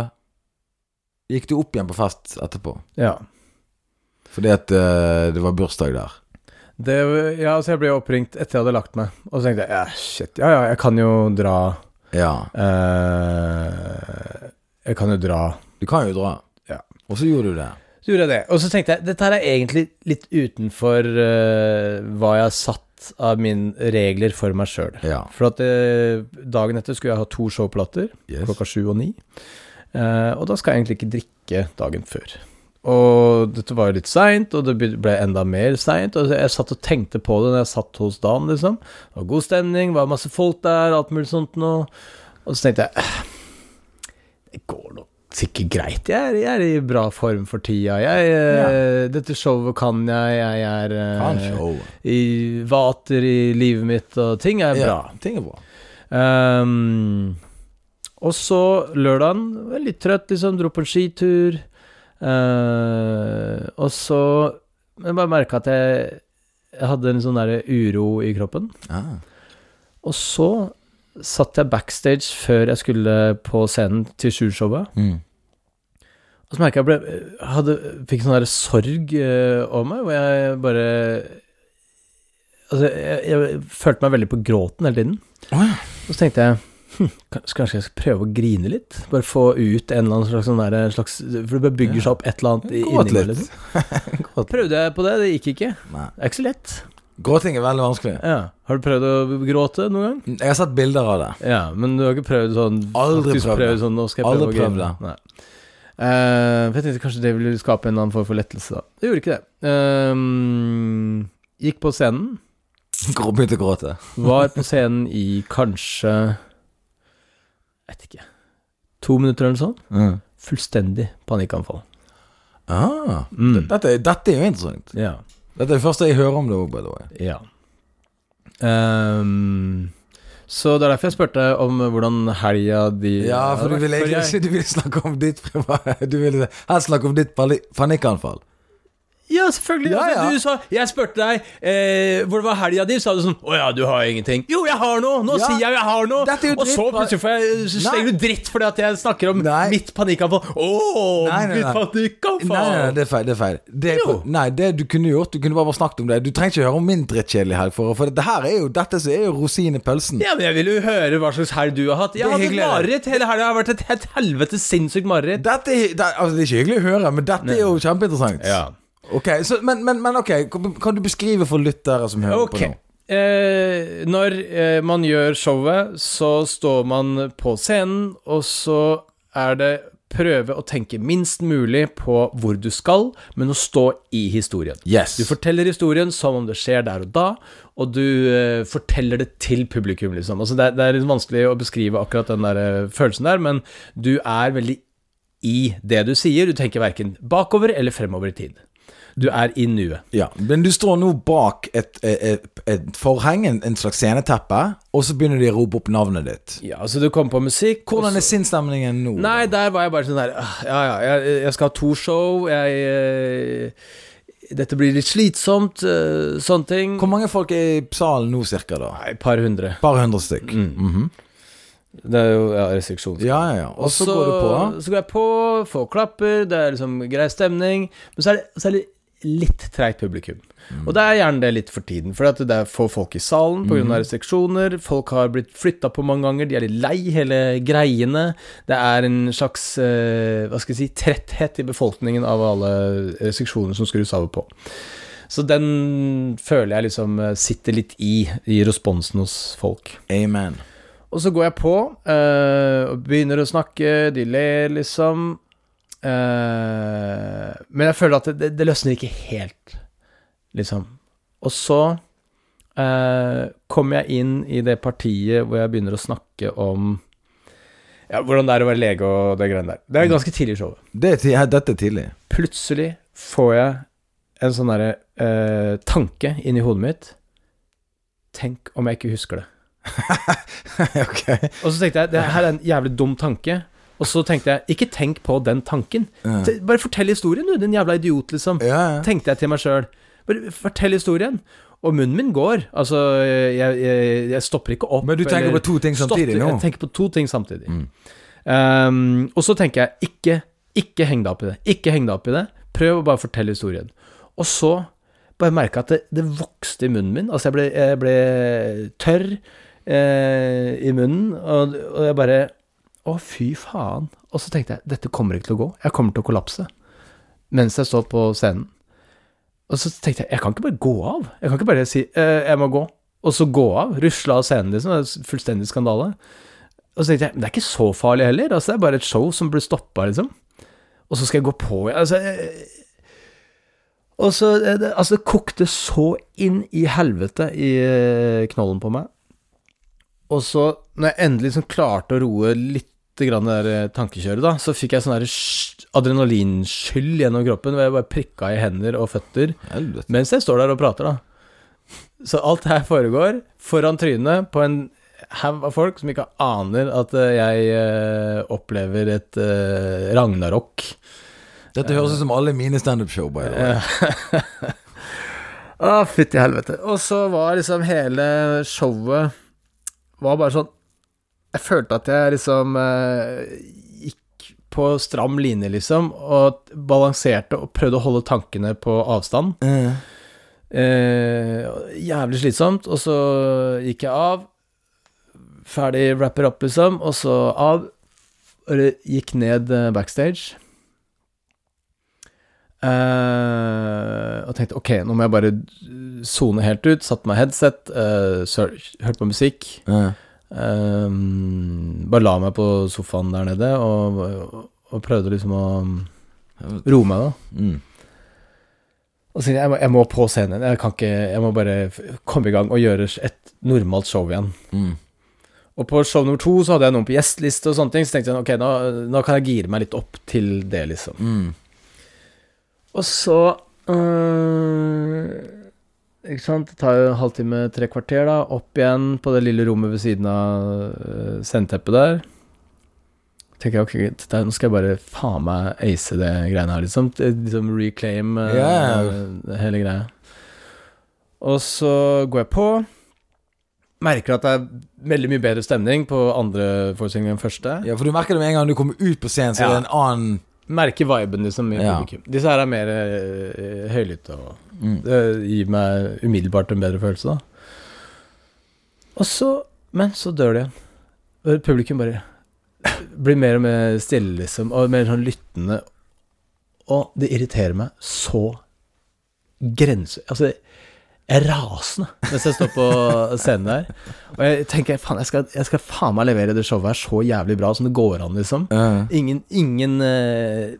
Speaker 2: eh, gikk du opp igjen på fest etterpå.
Speaker 3: ja.
Speaker 2: Fordi at eh, det var bursdag der.
Speaker 3: Det, ja, så jeg ble oppringt etter jeg hadde lagt meg, og så tenkte jeg ja, shit, ja ja, jeg kan jo dra
Speaker 2: Ja.
Speaker 3: eh, Jeg kan jo dra
Speaker 2: Du kan jo dra.
Speaker 3: Ja.
Speaker 2: Og så gjorde du det.
Speaker 3: Så gjorde jeg det. Og så tenkte jeg dette her er egentlig litt utenfor eh, hva jeg har satt av mine regler for meg sjøl.
Speaker 2: Ja.
Speaker 3: For at eh, dagen etter skulle jeg ha to showplater,
Speaker 2: Yes.
Speaker 3: klokka sju og ni. Eh, og da skal jeg egentlig ikke drikke dagen før. Og dette var jo litt seint, og det be- ble enda mer seint. Og jeg satt og tenkte på det når jeg satt hos Dan, liksom. Det var god stemning, var masse folk der, alt mulig sånt noe. Og så tenkte jeg «Eh, Det går nok sikkert greit. Jeg er, jeg er i bra form for tida. Jeg, eh, Dette showet kan jeg. Jeg er eh,
Speaker 2: Kanskje. Oh.
Speaker 3: i vater i livet mitt, og ting er bra.
Speaker 2: Ja, ting er bra.
Speaker 3: Ehm, og så lørdagen, var jeg litt trøtt, liksom, dro på en skitur. Eh, og så Men jeg bare merka at jeg, jeg hadde en sånn der uro i kroppen.
Speaker 2: Ah.
Speaker 3: Og så satt jeg backstage før jeg skulle på scenen til Sjur-showet.
Speaker 2: Mm.
Speaker 3: Og så merka jeg ble, hadde, fikk sånn der sorg eh, over meg, hvor jeg bare Altså, jeg, jeg følte meg veldig på gråten hele tiden.
Speaker 2: Å ja.
Speaker 3: Og så tenkte jeg hm, kans- kanskje jeg skal prøve å grine litt. Bare få ut en eller annen slags, sånn der, slags For det bare bygger seg opp et eller annet i-
Speaker 2: Gråt
Speaker 3: inni meg.
Speaker 2: litt.
Speaker 3: Liksom. Prøvde jeg på det, det gikk ikke.
Speaker 2: Nei.
Speaker 3: Det er ikke så lett.
Speaker 2: Gråting er veldig vanskelig.
Speaker 3: Ja. Har du prøvd å gråte noen gang?
Speaker 2: Jeg har sett bilder av det.
Speaker 3: Ja, men du har ikke prøvd sånn
Speaker 2: Aldri
Speaker 3: faktisk
Speaker 2: prøvd det.
Speaker 3: sånn, nå skal jeg prøve
Speaker 2: Aldri
Speaker 3: å grine.
Speaker 2: prøvd
Speaker 3: Nei. Eh, for jeg tenkte kanskje det ville skape en eller annen form for lettelse, da. Det gjorde ikke det. Ehm, gikk på scenen.
Speaker 2: Grå- Begynte å gråte.
Speaker 3: Var på scenen i kanskje Jeg vet ikke To minutter eller noe sånt.
Speaker 2: Mm.
Speaker 3: Fullstendig panikkanfall.
Speaker 2: Ah,
Speaker 3: Mm.
Speaker 2: dette, er- dette er jo interessant.
Speaker 3: Ja.
Speaker 2: Dette er det første jeg hører om det òg, by the way.
Speaker 3: ja. Ehm, så det er derfor jeg spurte om hvordan helga di
Speaker 2: Ja, for du
Speaker 3: hadde
Speaker 2: vil
Speaker 3: vært.
Speaker 2: egentlig
Speaker 3: jeg-
Speaker 2: ikke du vil snakke om ditt priva- Du vil helst snakke om ditt pali- panikkanfall.
Speaker 3: Ja, selvfølgelig.
Speaker 2: Ja,
Speaker 3: altså,
Speaker 2: ja.
Speaker 3: Du sa Jeg spurte deg eh, hvor det var helga di, sa du sånn Å ja, du har ingenting. Jo, jeg har noe! Nå
Speaker 2: Ja.
Speaker 3: sier jeg jeg har noe!
Speaker 2: Dette er jo
Speaker 3: Og så
Speaker 2: dritt.
Speaker 3: plutselig får jeg så slenger du dritt fordi at jeg snakker om
Speaker 2: Nei.
Speaker 3: mitt panikkanfall. Å,
Speaker 2: Nei, nei,
Speaker 3: mitt
Speaker 2: nei. Nei,
Speaker 3: panikkanfall!
Speaker 2: nei, nei, det er feil. Det er feil. Det,
Speaker 3: Jo.
Speaker 2: nei, det du kunne gjort, du kunne bare snakket om det. Du trenger ikke høre om min drittkjedelige helg, for, for dette her er jo Dette som er jo rosinen i pølsen.
Speaker 3: Ja, men jeg vil jo høre hva slags helg du har hatt. Jeg
Speaker 2: Det er
Speaker 3: har hatt et
Speaker 2: hyggelig, det.
Speaker 3: mareritt hele helga. Det har vært et helt helvete sinnssykt mareritt.
Speaker 2: Dette er, det, altså, det er ikke hyggelig å høre, men dette er jo kjempeinteressant. Ok, så, men, men, men ok, kan kan du beskrive for lyttere som hører
Speaker 3: Ok.
Speaker 2: på nå?
Speaker 3: Eh, når eh, man gjør showet, så står man på scenen, og så er det prøve å tenke minst mulig på hvor du skal, men å stå i historien.
Speaker 2: Yes.
Speaker 3: Du forteller historien som om det skjer der og da, og du eh, forteller det til publikum, liksom. Altså, det, er, det er litt vanskelig å beskrive akkurat den der eh, følelsen der, men du er veldig i det du sier. Du tenker verken bakover eller fremover i tid. Du er i nuet.
Speaker 2: Ja, men du står nå bak et, et, et forheng, en- en slags sceneteppe, og så begynner de å rope opp navnet ditt.
Speaker 3: Ja, altså du kommer på musikk og
Speaker 2: Hvordan
Speaker 3: så-
Speaker 2: er sinnsstemningen nå?
Speaker 3: Nei, der var jeg bare sånn der «Ah, Ja, ja, jeg, jeg skal ha to show, jeg eh, Dette blir litt slitsomt, eh, sånne ting.
Speaker 2: Hvor mange folk er i salen nå, cirka, da?
Speaker 3: Nei, et par hundre.
Speaker 2: Et par hundre stykk. Mhm.
Speaker 3: Det er jo ja, restriksjons...
Speaker 2: Ja, ja, ja. Og så går du på.
Speaker 3: Så går jeg på, folk klapper, det er liksom grei stemning. Men så er det, så er det litt treigt publikum.
Speaker 2: Mm.
Speaker 3: Og det er gjerne det litt for tiden. For at det er få folk i salen pga.
Speaker 2: Mhm.
Speaker 3: av restriksjoner. Folk har blitt flytta på mange ganger, de er litt lei hele greiene. Det er en slags eh, hva skal jeg si, tretthet i befolkningen av alle restriksjoner som skrus av og på. Så den føler jeg liksom eh, sitter litt i, i responsen hos folk.
Speaker 2: Amen.
Speaker 3: Og så går jeg på eh, og begynner å snakke, de ler liksom. Eh, men jeg føler at det, det, det løsner ikke helt, liksom. Og så eh, kommer jeg inn i det partiet hvor jeg begynner å snakke om ja, hvordan det er å være lege og det greiene der. Det er ganske tidlig i showet
Speaker 2: Det er, ti- ja, dette er tidlig.
Speaker 3: plutselig får jeg en sånn derre eh, tanke inni hodet mitt. Tenk om jeg ikke husker det.
Speaker 2: ok.
Speaker 3: Og så tenkte jeg det her er en jævlig dum tanke. Og så tenkte jeg ikke tenk på den tanken.
Speaker 2: Ja.
Speaker 3: Te- Bare fortell historien, du, din jævla idiot, liksom.
Speaker 2: Ja, ja.
Speaker 3: Tenkte jeg til meg sjøl. Bare fortell historien. Og munnen min går. Altså, jeg, jeg, jeg stopper ikke opp.
Speaker 2: Men du tenker
Speaker 3: eller
Speaker 2: på to ting samtidig
Speaker 3: stopper-
Speaker 2: nå? Mm.
Speaker 3: Jeg tenker på to ting samtidig. Um, og så tenker jeg, ikke, ikke heng deg opp i det. Ikke heng deg opp i det. Prøv å bare fortelle historien. Og så bare merka jeg at det, det vokste i munnen min. Altså, jeg ble, jeg ble tørr eh, i munnen, og, og jeg bare Å, fy faen. Og så tenkte jeg, dette kommer ikke til å gå. Jeg kommer til å kollapse. Mens jeg står på scenen. Og så tenkte jeg, jeg kan ikke bare gå av. Jeg kan ikke bare si, «Eh, jeg må gå. Og så gå av. Rusle av scenen, liksom. Det er fullstendig skandale. Og så tenkte jeg, men det er ikke så farlig heller. Altså, det er bare et show som blir stoppa, liksom. Og så skal jeg gå på igjen. Altså, jeg- og så eh, det, Altså, det kokte så inn i helvete i eh, knollen på meg. Og så, når jeg endelig liksom klarte å roe litt grann det der eh, tankekjøret, da, så fikk jeg sånn der sj- adrenalinskyll gjennom kroppen, hvor jeg bare prikka i hender og føtter
Speaker 2: Helvete.
Speaker 3: mens jeg står der og prater, da. Så alt det her foregår foran trynet på en haug av folk som ikke aner at eh, jeg eh, opplever et eh, ragnarok.
Speaker 2: Dette høres ut som alle mine standup-show, by the way.
Speaker 3: Å, fytti helvete. Og så var liksom hele showet Var bare sånn Jeg følte at jeg liksom eh, gikk på stram line, liksom, og balanserte og prøvde å holde tankene på avstand.
Speaker 2: Eh,
Speaker 3: Eh, jævlig slitsomt, og så gikk jeg av. Ferdig wrapper up, liksom, og så av. Og det gikk ned eh, backstage. Eh, og tenkte ok, nå må jeg bare sone helt ut. Satte meg headset, eh, sør- hørte på musikk.
Speaker 2: eh.
Speaker 3: Ehm, bare la meg på sofaen der nede og, og prøvde liksom å roe meg, da.
Speaker 2: Mm.
Speaker 3: Og så tenkte jeg, jeg må, jeg må på scenen. Jeg kan ikke Jeg må bare f- komme i gang og gjøre et normalt show igjen.
Speaker 2: Mm.
Speaker 3: Og på show nummer to så hadde jeg noen på gjesteliste og sånne ting, så tenkte jeg ok, nå, nå kan jeg gire meg litt opp til det, liksom.
Speaker 2: Mm.
Speaker 3: Og så øh, Ikke sant, det tar jo en halvtime, tre kvarter, da. Opp igjen på det lille rommet ved siden av øh, sceneteppet der. Tenker jeg, ok, greit, der, Nå skal jeg bare faen meg ace det greiene her, liksom. Det- liksom reclaim øh,
Speaker 2: Ja, ja.
Speaker 3: øh, hele greia. Og så går jeg på. Merker at det er veldig mye bedre stemning på andre forestilling enn første.
Speaker 2: Ja, for du merker det med en gang du kommer ut på scenen, så
Speaker 3: Ja.
Speaker 2: er det en annen
Speaker 3: Merke viben liksom i
Speaker 2: Ja.
Speaker 3: publikum. Disse her er mer eh, høylytte og
Speaker 2: Mm.
Speaker 3: Det gir meg umiddelbart en bedre følelse, da. Og så Men så dør det igjen. Og Publikum bare blir mer og mer stille, liksom, og mer sånn lyttende. Og det irriterer meg så grense... Altså, Jeg er rasende mens jeg står på scenen der. Og jeg tenker faen, jeg skal, jeg skal faen meg levere det showet her så jævlig bra som det går an, liksom.
Speaker 2: Eh,
Speaker 3: Ingen, ingen eh,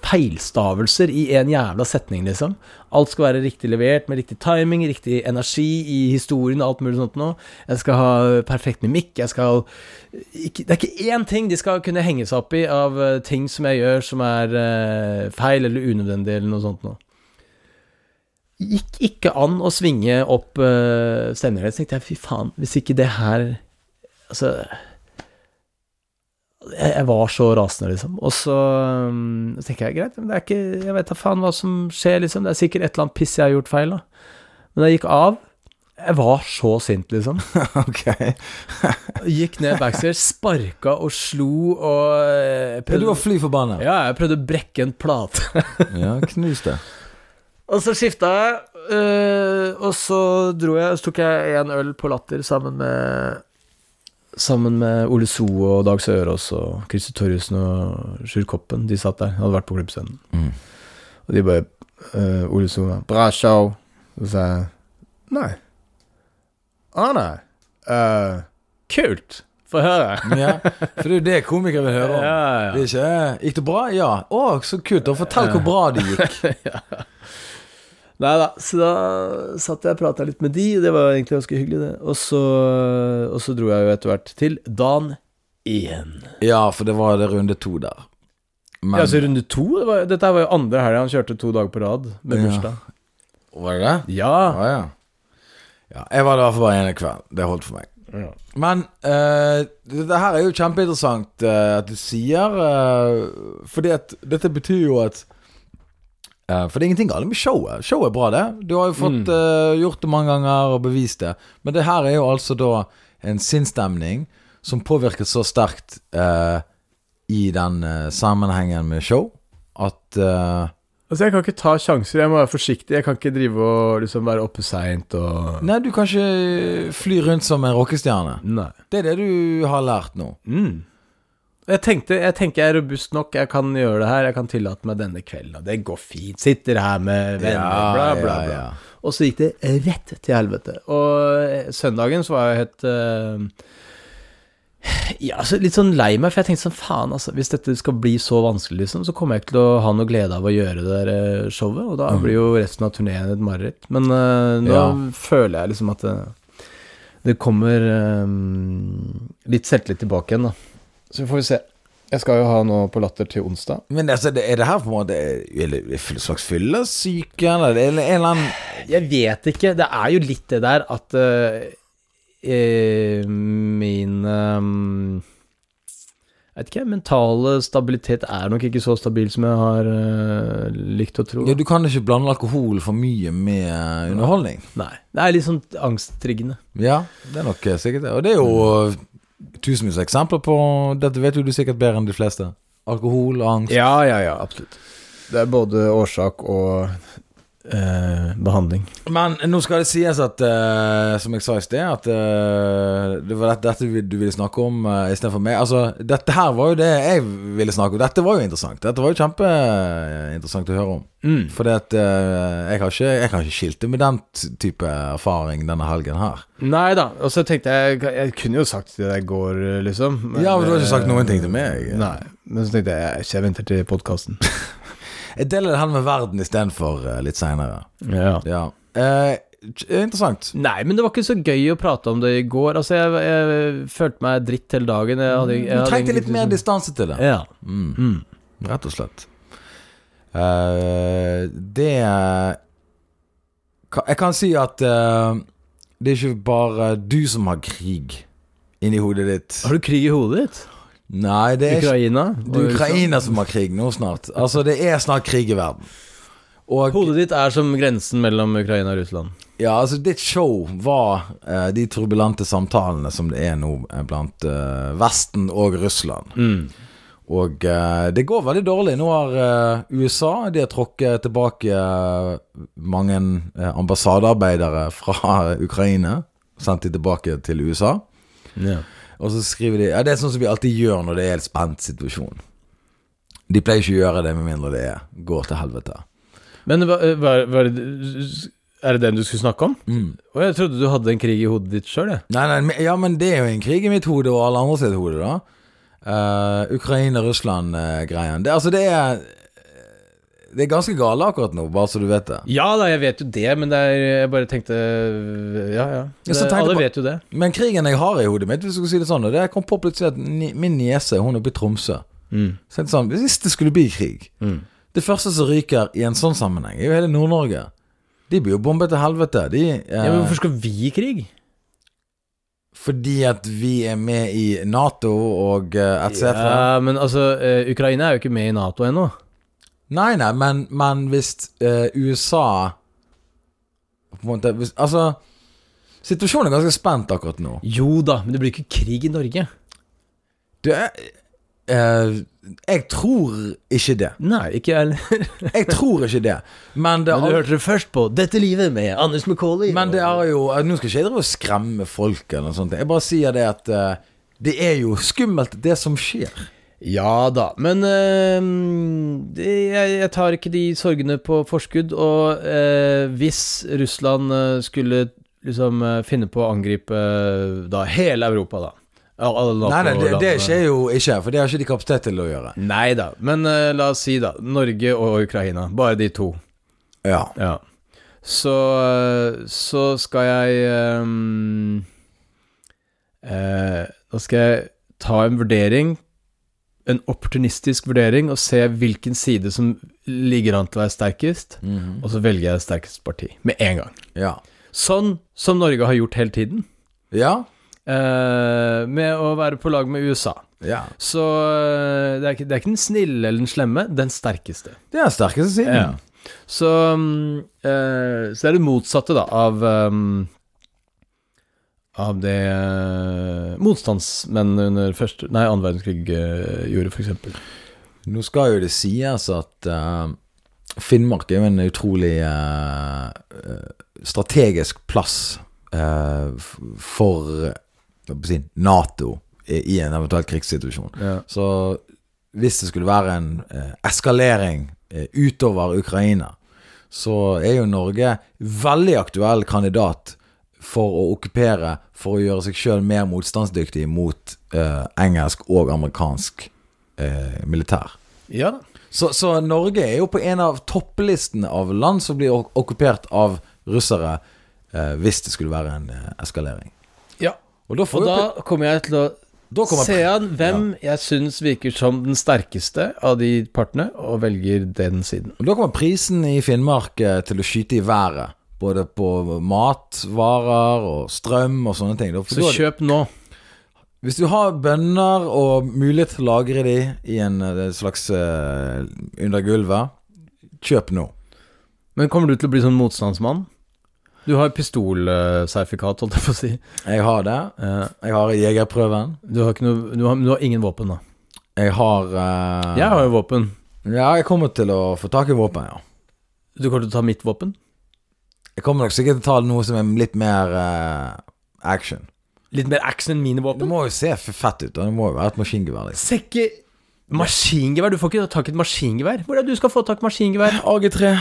Speaker 3: feilstavelser i en jævla setning, liksom. Alt skal være riktig levert, med riktig timing, riktig energi i historien og alt mulig sånt noe. Jeg skal ha perfekt mimikk, jeg skal eh, ikke, Det er ikke én ting de skal kunne henge seg opp i av eh, ting som jeg gjør som er eh, feil eller unødvendig eller noe sånt noe. Gikk ikke an å svinge opp uh, stemningen. Jeg tenkte jeg, fy faen, hvis ikke det her Altså jeg, jeg var så rasende, liksom. Og så um, tenker jeg greit, men det er ikke Jeg vet da faen hva som skjer, liksom. Det er sikkert et eller annet piss jeg har gjort feil, da. Men jeg gikk av. Jeg var så sint, liksom.
Speaker 2: ok.
Speaker 3: Gikk ned backstage, sparka og slo og
Speaker 2: Ja,
Speaker 3: eh,
Speaker 2: du var
Speaker 3: prøvde,
Speaker 2: fly forbanna.
Speaker 3: Ja, jeg prøvde å brekke en plate.
Speaker 2: Ja, knus det.
Speaker 3: Og så skifta jeg, øh, og så dro jeg, så tok jeg en øl på Latter sammen med Sammen med Ole So og Dag Sørås og Christer Torjussen og Sjur Koppen. De satt der, hadde vært på klubbscenen.
Speaker 2: Mm.
Speaker 3: Og de bare øh, Ole So var 'bra show'. Og så sa jeg nei. Å nei. Eh, kult. Få høre.
Speaker 2: Ja, for det er jo det komikere vil høre om.
Speaker 3: Ja, ja.
Speaker 2: Det er ikke, eh, Gikk det bra? Ja. Å, så kult. Da fortell hvor bra det gikk.
Speaker 3: Nei da, så da satt jeg og prata litt med de, og det var egentlig ganske hyggelig, det. Og så, og så dro jeg jo etter hvert til Dan 1.
Speaker 2: Ja, for det var det runde to der. Men
Speaker 3: Ja, altså runde to? Det var, dette her var jo andre helga han kjørte to dager på rad med
Speaker 2: Ja.
Speaker 3: bursdag.
Speaker 2: Var det det?
Speaker 3: Ja.
Speaker 2: Ja, ja. ja jeg var der i hvert fall bare en kveld. Det holdt for meg.
Speaker 3: Ja.
Speaker 2: Men eh, det, det her er jo kjempeinteressant eh, at du sier eh, Fordi at dette betyr jo at eh, For det er ingenting galt med showet. Showet er bra, det. Du har jo fått eh, gjort det mange ganger og bevist det. Men det her er jo altså da en sinnsstemning som påvirket så sterkt eh, i den eh, sammenhengen med show at eh,
Speaker 3: Altså, jeg kan ikke ta sjanser, jeg må være forsiktig. Jeg kan ikke drive og liksom være oppe seint og
Speaker 2: Nei, du kan ikke fly rundt som en rockestjerne.
Speaker 3: Nei.
Speaker 2: Det er det du har lært nå.
Speaker 3: Mm. Jeg tenkte jeg tenker jeg er robust nok, jeg kan gjøre det her, jeg kan tillate meg denne kvelden. Og det går fint. Sitter her med venner,
Speaker 2: Ja,
Speaker 3: bla, bla,
Speaker 2: ja,
Speaker 3: bla.
Speaker 2: ja.
Speaker 3: Og så gikk det rett til helvete. Og eh, søndagen så var jeg helt eh, Ja, altså litt sånn lei meg, for jeg tenkte sånn faen, altså. Hvis dette skal bli så vanskelig, liksom, så kommer jeg ikke til å ha noe glede av å gjøre det der eh, showet. Og da blir jo resten av turneen et mareritt. Men eh, nå
Speaker 2: Ja.
Speaker 3: føler jeg liksom at det, det kommer eh, litt selvtillit tilbake igjen, da. Så får vi se. Jeg skal jo ha nå på Latter til onsdag.
Speaker 2: Men altså, det, er det her på en måte eller, en slags fyllesyke, eller det er en eller annen
Speaker 3: Jeg vet ikke. Det er jo litt det der at eh, eh, min eh, Jeg vet ikke, mentale stabilitet er nok ikke så stabil som jeg har eh, likt å tro.
Speaker 2: ja, Du kan ikke blande alkohol for mye med eh, underholdning.
Speaker 3: Nei. Det er litt sånn angsttriggende.
Speaker 2: Ja, det er nok eh, sikkert det. Og det er jo eh, tusenvis av eksempler på Dette vet jo du sikkert bedre enn de fleste. Alkohol, angst
Speaker 3: Ja, ja, ja, absolutt. Det er både årsak og eh, behandling.
Speaker 2: Men nå skal det sies at, eh, som jeg sa i sted, at eh, det var dette, dette du vil- du ville snakke om uh, istedenfor meg. Altså, dette her var jo det jeg ville snakke om. Dette var jo interessant. Dette var jo kjempeinteressant å høre om.
Speaker 3: Mm.
Speaker 2: Fordi at eh, jeg, har ikke, jeg har ikke skilt det med den t- type erfaring denne helgen her.
Speaker 3: Nei da. Og så tenkte jeg Jeg kunne jo sagt det der i går, liksom. eh,
Speaker 2: Ja, men du har ikke sagt noen ting til meg.
Speaker 3: Nei. Men så tenkte jeg jeg venter til podkasten.
Speaker 2: Jeg deler det her med verden istedenfor uh, litt seinere.
Speaker 3: ja.
Speaker 2: Ja. Eh, t- interessant.
Speaker 3: Nei, men det var ikke så gøy å prate om det i går. Altså, jeg, jeg følte meg dritt hele dagen. Jeg hadde, jeg
Speaker 2: Du
Speaker 3: hadde
Speaker 2: trengte
Speaker 3: ingen-
Speaker 2: litt mer distanse til det.
Speaker 3: Ja.
Speaker 2: Mm.
Speaker 3: Mm.
Speaker 2: Rett og slett. Eh, det Ka- Jeg kan si at eh, det er ikke bare du som har krig inni hodet ditt.
Speaker 3: Har du krig i hodet ditt?
Speaker 2: Nei, det er ikke
Speaker 3: Ukraina?
Speaker 2: Det er Ukraina som har krig nå snart. Altså, det er snart krig i verden. Og
Speaker 3: Hodet ditt er som grensen mellom Ukraina og Russland.
Speaker 2: ja, altså, ditt show var eh, de turbulente samtalene som det er nå eh, blant eh, Vesten og Russland.
Speaker 3: Mm.
Speaker 2: Og eh, det går veldig dårlig. Nå har eh, USA de har tråkket tilbake eh, mange eh, ambassadearbeidere fra Ukraina. Sendt de tilbake til USA.
Speaker 3: Ja.
Speaker 2: Og så skriver de Ja, det er sånn som vi alltid gjør når det er en spent situasjon. De
Speaker 3: eh,
Speaker 2: pleier ikke å gjøre det med mindre det går til helvete.
Speaker 3: Men hva, hva, hva er det Er det den du skulle snakke om?
Speaker 2: Mm.
Speaker 3: Å, jeg trodde du hadde en krig i hodet ditt sjøl, jeg.
Speaker 2: Nei, nei, men- ja, men det er jo en krig i mitt hode og alle andre sitt hode, da. Eh, Ukraina-Russland-greien. det, altså, det er eh, Det er ganske gale akkurat nå, bare så du vet det.
Speaker 3: Ja da, jeg vet jo det, men det er, jeg bare tenkte Ja, ja.
Speaker 2: Ja,
Speaker 3: Det,
Speaker 2: så tenkte
Speaker 3: alle
Speaker 2: på-
Speaker 3: vet jo det.
Speaker 2: Men krigen jeg har i hodet mitt, hvis du skal si det sånn, og det kom på plutselig at ni, min niese, hun er oppe i Tromsø
Speaker 3: Mm.
Speaker 2: Så tenkte jeg sånn, Hvis det skulle bli krig Det første som ryker i en sånn sammenheng, er jo hele Nord-Norge. De blir jo bombet til helvete. De, eh,
Speaker 3: Ja, men hvorfor skal vi i krig?
Speaker 2: Fordi at vi er med i Nato og eh, etc.
Speaker 3: Ja, men altså, eh, Ukraina er jo ikke med i Nato ennå.
Speaker 2: Nei, nei, men, men hvis eh, USA På en måte hvis, Altså Situasjonen er ganske spent akkurat nå.
Speaker 3: Jo da, men det blir ikke krig i Norge.
Speaker 2: Du, jeg, eh, jeg tror ikke det.
Speaker 3: Nei, ikke jeg heller.
Speaker 2: Jeg tror ikke det. Men det,
Speaker 3: Men du
Speaker 2: er,
Speaker 3: hørte det først på Dette livet med Anders McCauley.
Speaker 2: men det er jo eh, Nå skal ikke jeg drive og skremme folk eller noe sånt. Jeg bare sier det at eh, det er jo skummelt, det som skjer.
Speaker 3: Ja da, men øhm, det- jeg, jeg tar ikke de sorgene på forskudd. Og øh, hvis Russland øh, skulle liksom øh, finne på å angripe øh, da hele Europa, da Al- alle
Speaker 2: Nei, nei, det, det
Speaker 3: NATO-landene.
Speaker 2: skjer jo ikke, for det har ikke de kapasitet til å gjøre.
Speaker 3: Nei da, men øh, la oss si, da. Norge og Ukraina. Bare de to.
Speaker 2: Ja.
Speaker 3: Ja. Så, øh, så skal jeg øhm, eh, Da skal jeg ta en vurdering, en opportunistisk vurdering, og se hvilken side som ligger an til å være sterkest, og så velger jeg det sterkeste parti med en gang.
Speaker 2: Ja.
Speaker 3: Sånn som Norge har gjort hele tiden,
Speaker 2: Ja.
Speaker 3: eh, med å være på lag med USA.
Speaker 2: ja.
Speaker 3: Så øh, det er, ikke, det er ikke den snille eller den slemme, den sterkeste.
Speaker 2: Det er den sterkeste siden.
Speaker 3: Ja. Så, um, eh, så det er det motsatte da av um, av det eh, motstandsmenn under første, nei, annen verdenskrig eh, gjorde, f.eks.
Speaker 2: Nå skal jo det sies at eh, Finnmark er jo en utrolig eh, eh, strategisk plass eh, f- for eh, hva skal jeg si, Nato i, i en eventuell krigssituasjon.
Speaker 3: Ja.
Speaker 2: Så hvis det skulle være en eh, eskalering eh, utover Ukraina, så er jo Norge veldig aktuell kandidat for å okkupere, for å gjøre seg sjøl mer motstandsdyktig mot eh, engelsk og amerikansk eh, militær.
Speaker 3: ja da.
Speaker 2: Så, så Norge er jo på en av topplistene av land som blir ok- okkupert av russere eh, hvis det skulle være en eh, eskalering.
Speaker 3: Ja.
Speaker 2: Og da, får
Speaker 3: Og
Speaker 2: vi
Speaker 3: da
Speaker 2: på-
Speaker 3: kommer jeg til å
Speaker 2: da kommer
Speaker 3: se an hvem jeg syns virker som den sterkeste av de partene, og velger den siden.
Speaker 2: Og Da kommer prisen i Finnmark eh, til å skyte i været. Både på matvarer og strøm og sånne ting. Da- for
Speaker 3: Så
Speaker 2: da-
Speaker 3: kjøp nå.
Speaker 2: Hvis du har bønner og mulighet til å lagre de i en eh, slags eh, under gulvet, kjøp nå.
Speaker 3: Men kommer du til å bli sånn motstandsmann? Du har pistolsertifikat, holdt jeg på å si.
Speaker 2: Jeg har det.
Speaker 3: Eh,
Speaker 2: Jeg har jegerprøven.
Speaker 3: Du har, ikke noe, du har, du har ingen våpen, da.
Speaker 2: Jeg har eh,
Speaker 3: Jeg har jo våpen.
Speaker 2: Ja, jeg kommer til å få tak i våpen, ja.
Speaker 3: Du kommer til å ta mitt våpen?
Speaker 2: Jeg kommer nok sikkert til å ta noe som er litt mer eh, action.
Speaker 3: Litt mer action enn mine
Speaker 2: Det
Speaker 3: våpen?
Speaker 2: må jo se f- fett ut. da. Det må jo være et maskingevær. Liksom.
Speaker 3: Sekke Maskingevær? Du får ikke tak i et maskingevær. Hvor er det du skal få tak i maskingevær?
Speaker 2: AG3.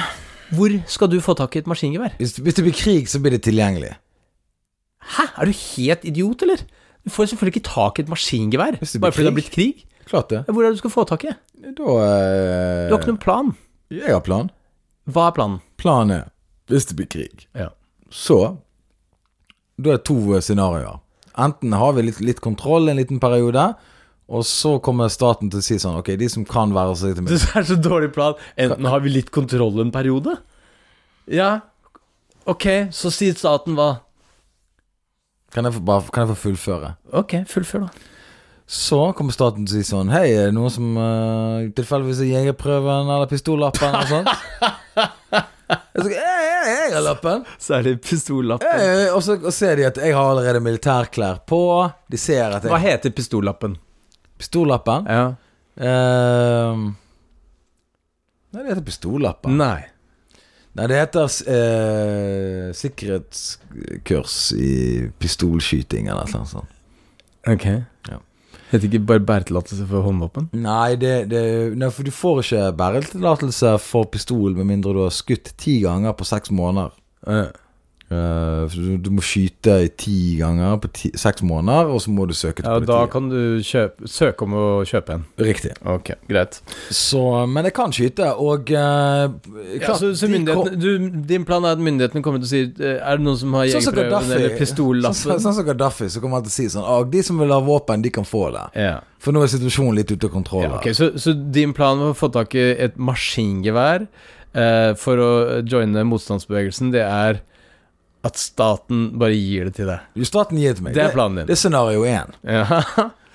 Speaker 3: Hvor skal du få tak i et maskingevær?
Speaker 2: Hvis, hvis det blir krig, så blir det tilgjengelig.
Speaker 3: Hæ, er du helt idiot, eller? Du får selvfølgelig ikke tak i et maskingevær
Speaker 2: Hvis det blir
Speaker 3: bare fordi det har
Speaker 2: krig.
Speaker 3: blitt krig.
Speaker 2: Klart det.
Speaker 3: Ja, Hvor er det du skal få tak i?
Speaker 2: Da eh,
Speaker 3: Du har ikke noen plan.
Speaker 2: Jeg har plan.
Speaker 3: Hva er planen?
Speaker 2: Planen er, hvis det blir krig,
Speaker 3: Ja.
Speaker 2: så Da er det to eh, scenarioer. Enten har vi litt, litt kontroll en liten periode, og så kommer staten til å si sånn Ok, de som kan være seg til
Speaker 3: Det
Speaker 2: meg
Speaker 3: er så dårlig plan. Enten har vi litt kontroll en periode Ja, ok, så sier staten hva?
Speaker 2: Kan jeg få, bare, kan jeg få fullføre?
Speaker 3: Ok, fullfør, da.
Speaker 2: Så kommer staten til å si sånn Hei, er det noen som uh, tilfeldigvis har jegerprøven eller pistollappen eller sånt? Jeg skal, «Jeg- jeg- jeg har lappen.
Speaker 3: Særlig pistollappen.
Speaker 2: Jeg- Og så og ser de at jeg har allerede militærklær på. De ser at jeg
Speaker 3: Hva heter pistollappen?
Speaker 2: Pistollappen?
Speaker 3: Ja.
Speaker 2: Ehm, nei, det heter pistollappen.
Speaker 3: Nei.
Speaker 2: Nei, det heter eh, sikkerhetskurs i pistolskyting eller noe sånt.
Speaker 3: Ok.
Speaker 2: Ja.
Speaker 3: Heter ikke bare bæretillatelse for håndvåpen?
Speaker 2: Nei, det, det, nei, for du får ikke bæretillatelse for pistol med mindre du har skutt ti ganger på seks måneder.
Speaker 3: Eh,
Speaker 2: Eh, for du, du må skyte i ti ganger på ti, seks måneder, og så må du søke til
Speaker 3: Ja, og da
Speaker 2: politiet.
Speaker 3: kan du kjøpe, søke om å kjøpe en.
Speaker 2: Riktig.
Speaker 3: Ok, greit.
Speaker 2: Så, men jeg kan skyte, og eh,
Speaker 3: Ja, så, så
Speaker 2: de kom-
Speaker 3: myndighetene, du, din plan er at myndighetene kommer til å si eh, Er det noen som har
Speaker 2: Sånn som
Speaker 3: jegerprøven
Speaker 2: Gaddafi.
Speaker 3: eller
Speaker 2: Sånn,
Speaker 3: pistollappen?
Speaker 2: sånn som Gaddafi, så kommer han til å si sånn «Å, De som vil ha våpen, de kan få det.
Speaker 3: Ja.
Speaker 2: For nå er situasjonen litt ute av kontroll.
Speaker 3: Ja,
Speaker 2: her.
Speaker 3: ok, så, så din plan var å få tak i et maskingevær eh, for å joine motstandsbevegelsen, det er at staten bare gir det til deg.
Speaker 2: Jo, Staten gir det til meg.
Speaker 3: Det er planen
Speaker 2: Det
Speaker 3: din.
Speaker 2: er scenario én.
Speaker 3: Ja.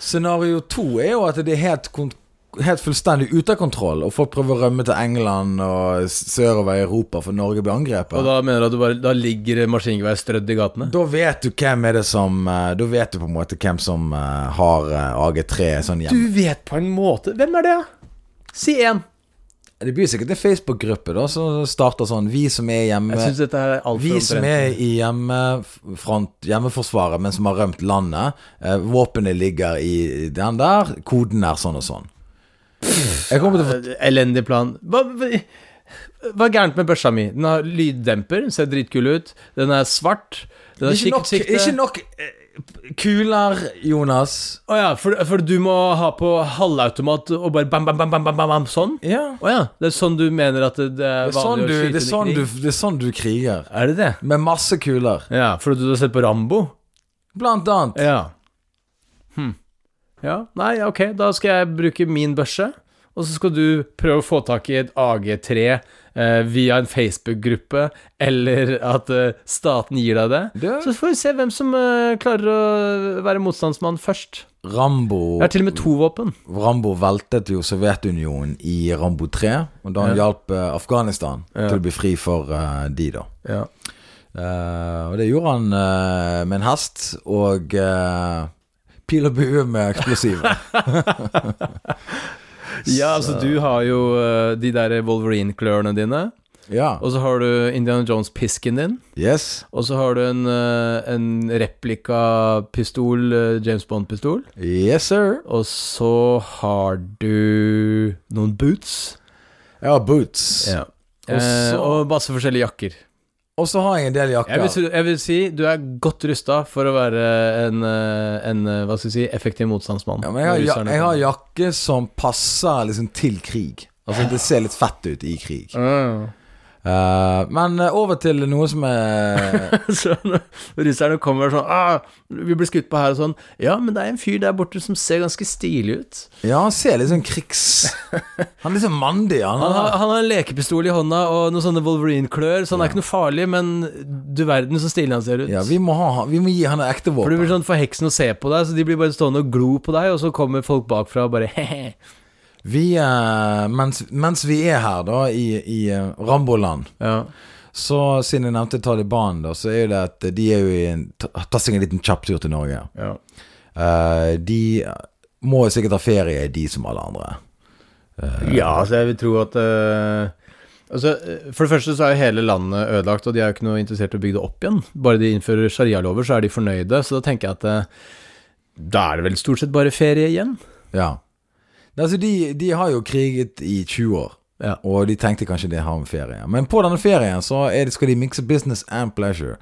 Speaker 2: Scenario to er jo at det er helt, kon- helt fullstendig ute av kontroll, og folk prøver å rømme til England og s- sørover i Europa, for Norge blir angrepet.
Speaker 3: Og da mener du at du bare, da ligger maskingevær strødd i gatene?
Speaker 2: Da vet du hvem er det som eh, Da vet du på en måte hvem som eh, har eh, AG3 sånn hjemme.
Speaker 3: vet på en måte Hvem er det, da? Si én.
Speaker 2: Det blir sikkert en Facebook-gruppe da som starter sånn Vi som er hjemme
Speaker 3: Jeg syns dette her er altfor
Speaker 2: Vi som er i hjemmefront, hjemmeforsvaret, men som har rømt landet. Eh, våpenet ligger i den der, koden er sånn og sånn. Jeg kommer til å få
Speaker 3: Elendig plan. Eh, Hva, hva, hva er gærent med børsa mi? Den har lyddemper, den ser dritkul ut. Den er svart.
Speaker 2: Det
Speaker 3: Den har
Speaker 2: er ikke nok,
Speaker 3: kikksikte.
Speaker 2: ikke nok eh, kuler, Jonas.
Speaker 3: Å ja, for, for du må ha på halvautomat og bare bam, bam, bam, bam, bam, bam, bam sånn?
Speaker 2: Ja.
Speaker 3: Å ja, det er sånn du mener at det, det er
Speaker 2: Det er sånn
Speaker 3: vanlig
Speaker 2: du,
Speaker 3: å skyte
Speaker 2: det er sånn
Speaker 3: i
Speaker 2: du,
Speaker 3: krig?
Speaker 2: det er sånn du kriger.
Speaker 3: Er det det?
Speaker 2: Med masse kuler.
Speaker 3: Ja, fordi du har sett på Rambo?
Speaker 2: Blant annet.
Speaker 3: Ja. Hm. Ja, nei, ok, da skal jeg bruke min børse, og så skal du prøve å få tak i et AG3 eh, via en Facebook-gruppe, eller at eh, staten gir deg det.
Speaker 2: Det-
Speaker 3: Så får vi se hvem som eh, klarer å være motstandsmann først.
Speaker 2: Rambo
Speaker 3: Jeg har til og med to våpen.
Speaker 2: Rambo veltet jo Sovjetunionen i Rambo 3, og da han hjalp eh, Afghanistan til å bli fri for eh, de, da.
Speaker 3: Ja.
Speaker 2: Eh, og det gjorde han eh, med en hest og eh, pil og bue med eksplosiver.
Speaker 3: Ja, altså du har jo eh, de der Wolverine-klørne dine,
Speaker 2: ja.
Speaker 3: og så har du Indiana Jones-pisken din,
Speaker 2: Yes.
Speaker 3: og så har du en, eh, en replika-pistol, eh, James Bond-pistol,
Speaker 2: Yes, sir.
Speaker 3: og så har du noen boots.
Speaker 2: Jeg har boots.
Speaker 3: Ja.
Speaker 2: Og så-
Speaker 3: Eh, og masse forskjellige jakker.
Speaker 2: Og så har jeg en del
Speaker 3: Jeg
Speaker 2: jakker.
Speaker 3: vil, si- jeg vil si du er godt rusta for å være en, eh, en eh, hva skal jeg si, effektiv motstandsmann.
Speaker 2: ja, men jeg, har,
Speaker 3: når
Speaker 2: ja-
Speaker 3: russerne
Speaker 2: jeg har
Speaker 3: kommer.
Speaker 2: jakke som passer liksom til krig. Altså Det ser litt fett ut i krig.
Speaker 3: Mm.
Speaker 2: Eh, men eh, over til noe som er
Speaker 3: Så når russerne kommer og sånn ah, Vi blir skutt på her og sånn. Ja, men det er en fyr der borte som ser ganske stilig ut.
Speaker 2: Ja, han ser litt sånn krigs... Han er litt sånn mandig. Han,
Speaker 3: Han har,
Speaker 2: han,
Speaker 3: han har en lekepistol i hånda og noen sånne Wolverine-klør, så han er ikke noe farlig, men du verden så stilig han ser ut.
Speaker 2: ja, vi må, ha, vi må gi han et ekte
Speaker 3: For du
Speaker 2: våpen.
Speaker 3: blir sånn forheksende å se på deg, så de blir bare stående og glo på deg, og så kommer folk bakfra og bare he-he. sånn-
Speaker 2: Vi, eh, mens, mens vi er her, da, i, i eh, Ramboland
Speaker 3: Ja.
Speaker 2: Så siden jeg nevnte Taliban, da, så er jo det at de er jo i en ta- Ta seg en liten kjapp tur til Norge.
Speaker 3: ja.
Speaker 2: Eh, de må jo sikkert ha ferie, de som alle andre.
Speaker 3: Ja, altså jeg vil tro at eh, altså, eh, For det første så er jo hele landet ødelagt, og de er jo ikke noe interessert i å bygge det opp igjen. Bare de innfører sharialover, så er de fornøyde. Så da tenker jeg at eh, da er det vel stort sett bare ferie igjen.
Speaker 2: Ja. Altså, de, de har jo kriget i 20 år,
Speaker 3: Ja.
Speaker 2: og de tenkte kanskje det har med ferie. Men på denne ferien så er det, skal de mikse business and pleasure.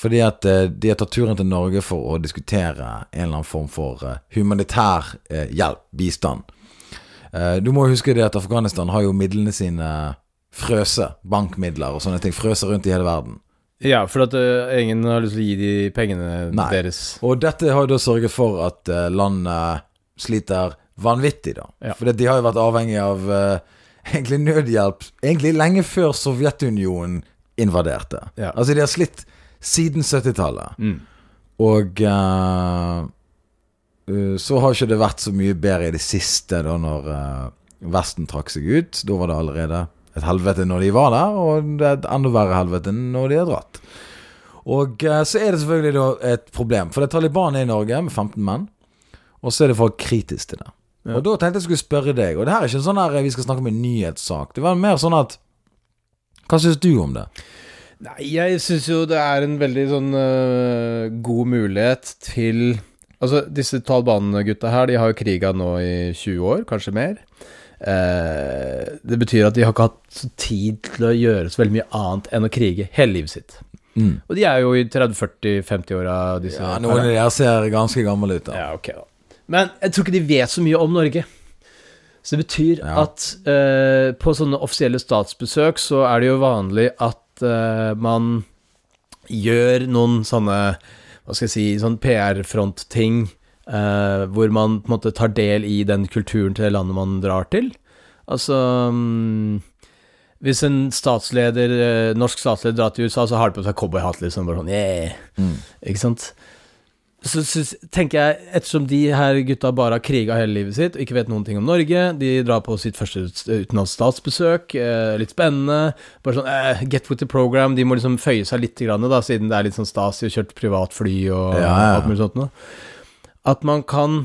Speaker 2: Fordi at eh, de har tatt turen til Norge for å diskutere en eller annen form for eh, humanitær eh, hjelp, bistand. Eh, du må jo huske det at Afghanistan har jo midlene sine frøse, bankmidler og sånne ting, frøse rundt i hele verden.
Speaker 3: Ja, for at eh, ingen har lyst til å gi de pengene
Speaker 2: Nei.
Speaker 3: deres.
Speaker 2: Og dette har jo da sørget for at eh, landet sliter vanvittig, da.
Speaker 3: Ja.
Speaker 2: For de har jo vært avhengig av eh, egentlig nødhjelp egentlig lenge før Sovjetunionen invaderte.
Speaker 3: Ja.
Speaker 2: Altså, de har slitt siden 70-tallet.
Speaker 3: Mm.
Speaker 2: Og eh, eh, så har ikke det vært så mye bedre i det siste, da når eh, Vesten trakk seg ut. Da var det allerede et helvete når de var der, og det er et enda verre helvete når de har dratt. Og eh, så er det selvfølgelig da et problem, for det er Taliban er i Norge med 15 menn. Og så er det folk kritiske til det. Og da tenkte jeg skulle spørre deg, og det her er ikke en sånn her eh, vi skal snakke om en nyhetssak. Det var mer sånn at Hva syns du om det?
Speaker 3: Nei, jeg syns jo det er en veldig sånn øh, god mulighet eh, til Altså, disse Taliban-gutta her, de har jo kriga nå i 20 år, kanskje mer. Eh, det betyr at de har ikke hatt så tid til å gjøre så veldig mye annet enn å krige hele livet sitt.
Speaker 2: Mm.
Speaker 3: Og de er jo i 30-40-50-åra, disse
Speaker 2: Ja, noen av dere ser ganske gamle ut. da
Speaker 3: ja, ok da. Men jeg tror ikke de vet så mye om Norge. Så det betyr
Speaker 2: Ja.
Speaker 3: at eh, på sånne offisielle statsbesøk så er det jo vanlig at eh, man gjør noen sånne hva skal jeg si, sånn PR-front-ting eh, hvor man på en måte tar del i den kulturen til det landet man drar til. Altså mm, Hvis en statsleder, eh, norsk statsleder drar til USA, så har de på seg cowboyhatt, liksom. Bare sånn, yeah.
Speaker 2: Mm.
Speaker 3: Ikke sant? Så syns- tenker jeg, ettersom de her gutta bare har kriga hele livet sitt og ikke vet noen ting om Norge, de drar på sitt første ut- utenlandsstatsbesøk, eh, litt spennende Bare sånn eh, get with the program. De må liksom føye seg litt, grann, da, siden det er litt sånn stas i å kjøre privatfly og
Speaker 2: Ja, ja.
Speaker 3: alt mulig sånt noe. At man kan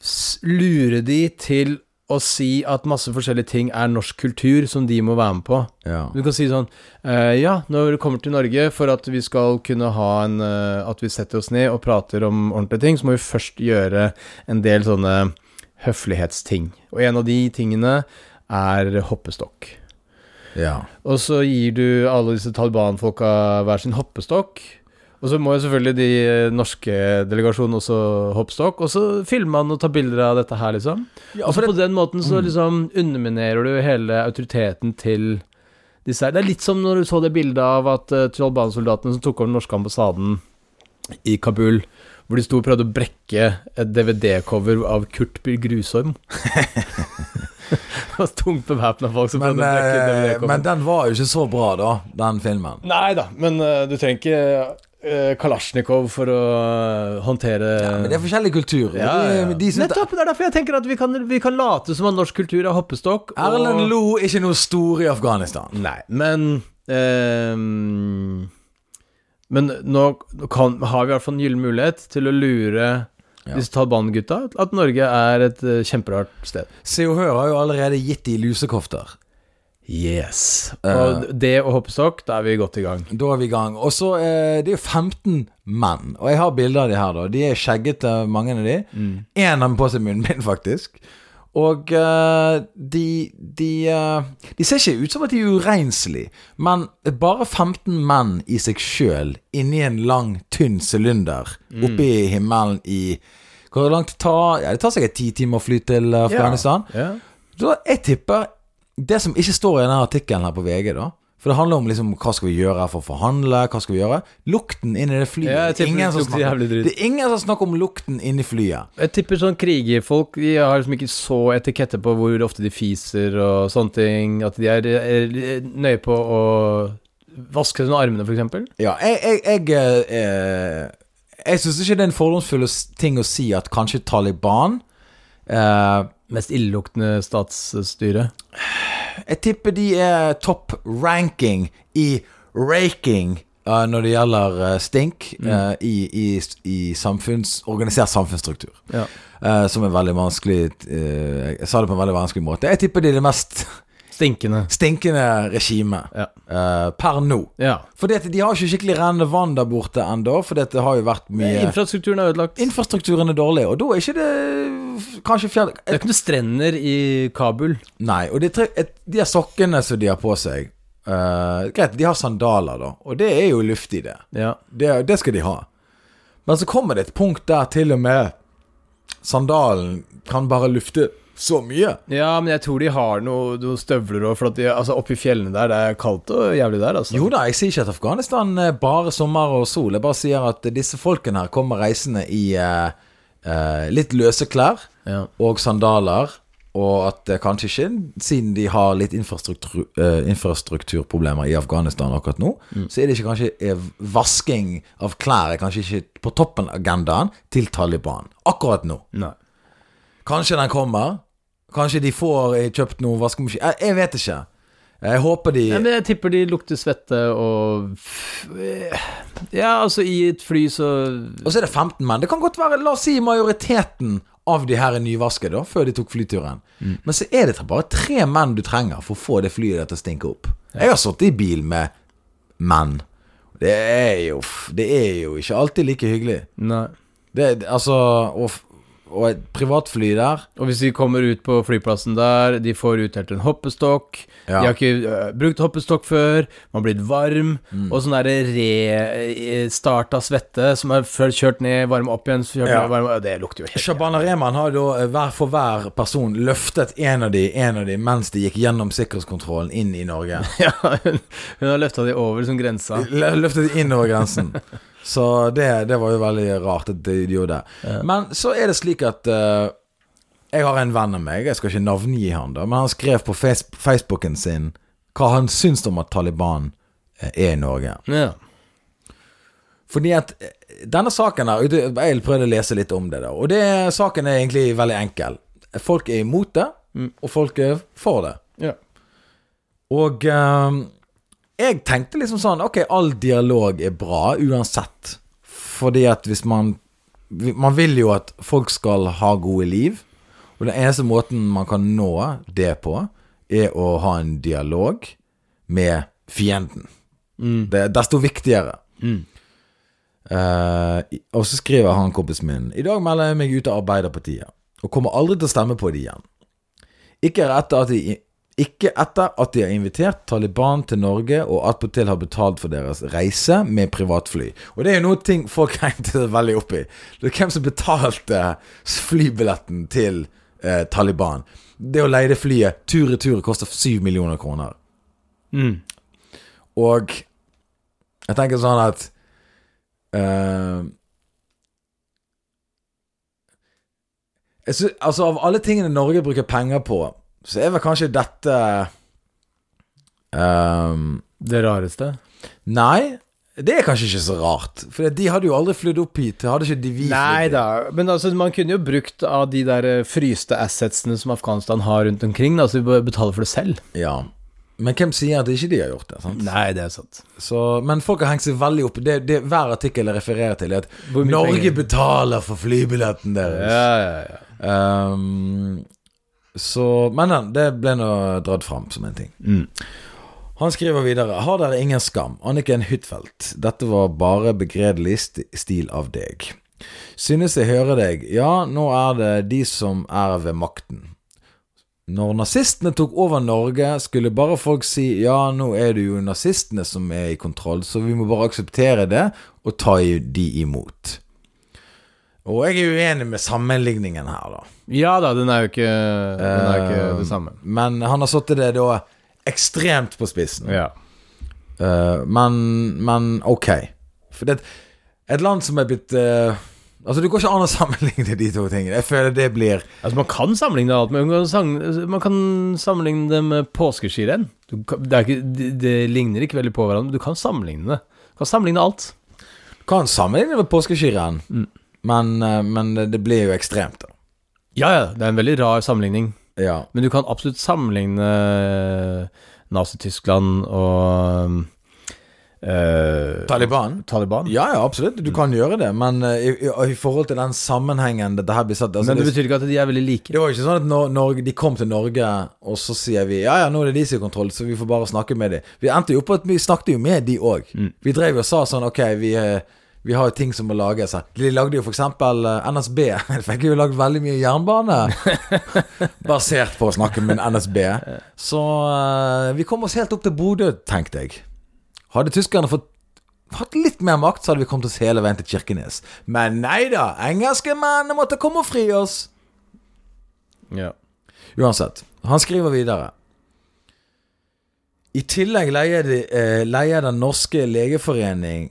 Speaker 3: s- lure de til å si at masse forskjellige ting er norsk kultur som de må være med på.
Speaker 2: Ja.
Speaker 3: Du kan si sånn eh, Ja, når du kommer til Norge, for at vi skal kunne ha en eh, At vi setter oss ned og prater om ordentlige ting, så må vi først gjøre en del sånne høflighetsting. Og en av de tingene er hoppestokk.
Speaker 2: ja.
Speaker 3: Og så gir du alle disse Taliban-folka hver sin hoppestokk. Og så må jo selvfølgelig de eh, norske delegasjonene også hoppestokk. Og så filmer man og tar bilder av dette her, liksom.
Speaker 2: ja
Speaker 3: Og så
Speaker 2: for Mm. det,
Speaker 3: på den måten så liksom underminerer du hele autoriteten til disse her. Det er litt som når du så det bildet av at uh, Taliban-soldatene som tok over den norske ambassaden i Kabul, hvor de sto og prøvde å brekke et DVD-cover av Kurt Byr Grusorm. det var tungt bevæpna folk som
Speaker 2: men,
Speaker 3: prøvde å brekke et
Speaker 2: eh,
Speaker 3: DVD-cover.
Speaker 2: men den var jo ikke så bra, da, den filmen.
Speaker 3: Nei da, men eh, du trenger ikke eh, Kalasjnikov for å eh, håndtere
Speaker 2: Men det er forskjellige kulturer.
Speaker 3: Ja, ja, ja.
Speaker 2: De, de synes
Speaker 3: Nettopp! Det er derfor jeg tenker at vi kan, vi kan late som at norsk kultur er hoppestokk. og-
Speaker 2: Erlend Lo er ikke noe stor i Afghanistan.
Speaker 3: Nei, men ehm, Men nå kan, har vi i hvert fall en gyllen mulighet til å lure
Speaker 2: Ja.
Speaker 3: disse Taliban-gutta at Norge er et eh, kjemperart sted.
Speaker 2: Se og Hør har jo allerede gitt de lusekofter.
Speaker 3: Yes.
Speaker 2: Eh.
Speaker 3: Og det og hoppestokk, da er vi godt i gang.
Speaker 2: Da er vi i gang. Og så eh, Det er jo 15 menn, og jeg har bilder av de her, da. De er skjeggete, mange av de.
Speaker 3: Mm.
Speaker 2: Én av dem på seg munnbind, faktisk. Og eh, de de, eh, de ser ikke ut som at de er urenselige, men bare 15 menn i seg sjøl, inni en lang, tynn sylinder,
Speaker 3: Mm.
Speaker 2: oppe i himmelen i Hvor langt det tar ja, Det tar sikkert ti timer å fly til eh, Afghanistan.
Speaker 3: Ja.
Speaker 2: Da, jeg tipper Det som ikke står i denne artikkelen her på VG, da For det handler om liksom, hva skal vi gjøre for å forhandle, hva skal vi gjøre Lukten inn i det flyet.
Speaker 3: Ja, jeg tipper
Speaker 2: ingen
Speaker 3: det
Speaker 2: som
Speaker 3: lukter
Speaker 2: snakker-
Speaker 3: jævlig dritt.
Speaker 2: det er ingen som snakker om lukten inn i flyet.
Speaker 3: Jeg tipper sånn krigerfolk De har liksom ikke så etikette på hvor ofte de fiser og sånne ting. At de er, eh, nøye på å vaske seg under armene, for eksempel.
Speaker 2: Ja, jeg Jeg, jeg, eh, eh, jeg syns ikke det er en fordomsfull s- ting å si at kanskje Taliban eh,
Speaker 3: Mest illeluktende statsstyre.
Speaker 2: Jeg tipper de er top ranking i raking eh, når det gjelder eh, stink
Speaker 3: Mm.
Speaker 2: eh, i, i, i samfunns, organisert samfunnsstruktur.
Speaker 3: Ja.
Speaker 2: Eh, som er veldig vanskelig eh, Jeg sa det på en veldig vanskelig måte. Jeg tipper de er det mest
Speaker 3: Stinkende.
Speaker 2: stinkende regimet
Speaker 3: Ja.
Speaker 2: eh, per nå.
Speaker 3: ja.
Speaker 2: For de har ikke skikkelig rennende vann der borte ennå, for det har jo vært mye
Speaker 3: Infrastrukturen er ødelagt.
Speaker 2: Infrastrukturen er dårlig, og da er ikke det kanskje fjell...
Speaker 3: det er ikke noen strender i Kabul.
Speaker 2: Nei, og de, tre, et, de her sokkene som de har på seg eh, Greit, de har sandaler, da, og det er jo luftig, det.
Speaker 3: Ja.
Speaker 2: det. Det skal de ha. Men så kommer det et punkt der til og med sandalen kan bare lufte så mye.
Speaker 3: men jeg tror de har noe- noen støvler og For at de, altså, oppi fjellene der, det er kaldt og jævlig der, altså.
Speaker 2: Jo da, jeg sier ikke at Afghanistan er bare sommer og sol. Jeg bare sier at disse folkene her kommer reisende i eh, eh, litt løse klær
Speaker 3: Ja.
Speaker 2: og sandaler. Og at eh, kanskje ikke, siden de har litt infrastruktur, eh, infrastrukturproblemer i Afghanistan akkurat nå,
Speaker 3: Mm.
Speaker 2: så er det ikke kanskje eh, vasking av klær er kanskje ikke på toppen av agendaen til Taliban akkurat nå.
Speaker 3: Nei.
Speaker 2: Kanskje den kommer. Kanskje de får eh, kjøpt noe vaskemaskin. Jeg, jeg vet ikke. Jeg håper de
Speaker 3: Nei, men jeg tipper de lukter svette og Ja, altså, i et fly så
Speaker 2: Og så er det 15 menn. Det kan godt være, la oss si majoriteten av de her er nyvasket da, før de tok flyturen. Men så er det bare tre menn du trenger for å få det flyet der til å stinke opp. Jeg har sittet i bil med menn. Det er jo f- Det er jo ikke alltid like hyggelig.
Speaker 3: Nei.
Speaker 2: Det, altså og, f- og et privatfly der
Speaker 3: Og hvis de kommer ut på flyplassen der, de får utdelt en hoppestokk
Speaker 2: Ja.
Speaker 3: De har ikke øh, brukt hoppestokk før, man har blitt varm, og sånn derre restart av svette som er før kjørt ned, varm opp igjen, så kjørt
Speaker 2: Ja.
Speaker 3: ned, varm, det lukter jo helt
Speaker 2: Shabana Rehman har da eh, hver for hver person løftet en av de, en av de mens de gikk gjennom sikkerhetskontrollen inn i Norge.
Speaker 3: Ja, hun, hun har løfta de over som grensa.
Speaker 2: Lø- Løftet de inn over grensen. Så det, det var jo veldig rart at de gjorde det. Men så er det slik at eh, Jeg har en venn av meg, jeg skal ikke navngi han da, men han skrev på face Facebooken sin hva han syns om at Taliban eh, er i Norge.
Speaker 3: Ja.
Speaker 2: Fordi at eh, denne saken her ute- Jeg prøvde å lese litt om det da Og det, saken er egentlig veldig enkel Folk er imot det Og folk er for det
Speaker 3: ja.
Speaker 2: Og eh, jeg tenkte liksom sånn Ok, all dialog er bra uansett Fordi at hvis man Man vil jo at folk skal ha gode liv Og den eneste måten man kan nå det på Er å ha en dialog Med fienden Det er desto viktigere Eh, og så skriver han kompisen min I dag melder jeg meg ut av Arbeiderpartiet Og kommer aldri til å stemme på det igjen Ikke etter at de ikke etter at de har invitert Taliban til Norge og attpåtil har betalt for deres reise med privatfly. Og det er jo noe ting folk hengte seg veldig opp i. Det er hvem som betalte flybilletten til eh, Taliban. Det å leie det flyet tur-retur koster 7 millioner kroner.
Speaker 3: Mm.
Speaker 2: Og jeg tenker sånn at eh, jeg sy- Altså, av alle tingene Norge bruker penger på, så er vel kanskje dette eh,
Speaker 3: Det rareste?
Speaker 2: Nei, det er kanskje ikke så rart. For de hadde jo aldri flydd opp hit. Hadde ikke de vi flydd
Speaker 3: Nei
Speaker 2: hit?
Speaker 3: da, men altså, man kunne jo brukt av de der eh, fryste assetsene som Afghanistan har rundt omkring, da, så vi bør betale for det selv.
Speaker 2: Ja. Men hvem sier at ikke de har gjort det? sant?
Speaker 3: Nei, det er sant.
Speaker 2: Så, men folk har hengt seg veldig opp det, det Hver artikkel jeg refererer til, er
Speaker 3: Hvor
Speaker 2: at
Speaker 3: mye
Speaker 2: Norge
Speaker 3: penger?
Speaker 2: betaler for flybilletten deres.
Speaker 3: Ja, ja, ja.
Speaker 2: Ehm, så, men den, det ble nå dratt fram som en ting. Han skriver videre Har dere ingen skam? Anniken Huitfeldt. Dette var bare begredelig st stil av deg. Synes jeg hører deg. Ja, nå er det de som er ved makten. Når nazistene tok over Norge, skulle bare folk si ja, nå er det jo nazistene som er i kontroll, så vi må bare akseptere det og ta i- de imot. Og jeg er uenig med sammenligningen her, da.
Speaker 3: Ja da, den er jo ikke, den er jo ikke det samme.
Speaker 2: Men han har satt det da ekstremt på spissen.
Speaker 3: Ja.
Speaker 2: Eh, men, men ok. For det et land som er blitt eh, Altså, det går ikke an å sammenligne de to tingene. Jeg føler det blir
Speaker 3: Altså, man kan sammenligne alt med man kan sang- Man kan sammenligne det med påskeskirenn. Du kan- Det, er ikke- det- det ligner ikke veldig på hverandre, men du kan sammenligne det. Du kan sammenligne alt.
Speaker 2: Kan sammenligne med påskeskirenn,
Speaker 3: Mm.
Speaker 2: men, eh, men det, det blir jo ekstremt, da.
Speaker 3: Ja, ja, det er en veldig rar sammenligning.
Speaker 2: Ja.
Speaker 3: Men du kan absolutt sammenligne Nazi-Tyskland og eh,
Speaker 2: Taliban?
Speaker 3: Taliban.
Speaker 2: Ja, ja, absolutt. Du kan gjøre det, men eh, i, i, i forhold til den sammenhengen dette her blir satt altså,
Speaker 3: men det
Speaker 2: det-
Speaker 3: betyr ikke at de er veldig like.
Speaker 2: Det var jo ikke sånn at Nor Norge, de kom til Norge, og så sier vi ja, ja, nå er det de som har kontroll, så vi får bare snakke med de. Vi endte jo på at vi snakket jo med de òg. Vi drev jo og sa sånn ok, vi, eh, vi har jo ting som må lages her. De lagde jo for eksempel eh, NSB. De fikk jo lagd veldig mye jernbane basert på å snakke med en NSB. Så eh, vi kom oss helt opp til Bodø, tenkte jeg. Hadde tyskerne fått hatt litt mer makt, så hadde vi kommet oss hele veien til Kirkenes. Men nei da, engelske menn måtte komme og fri oss.
Speaker 3: Ja.
Speaker 2: Uansett, han skriver videre. I tillegg leier, de, eh, leier den norske legeforening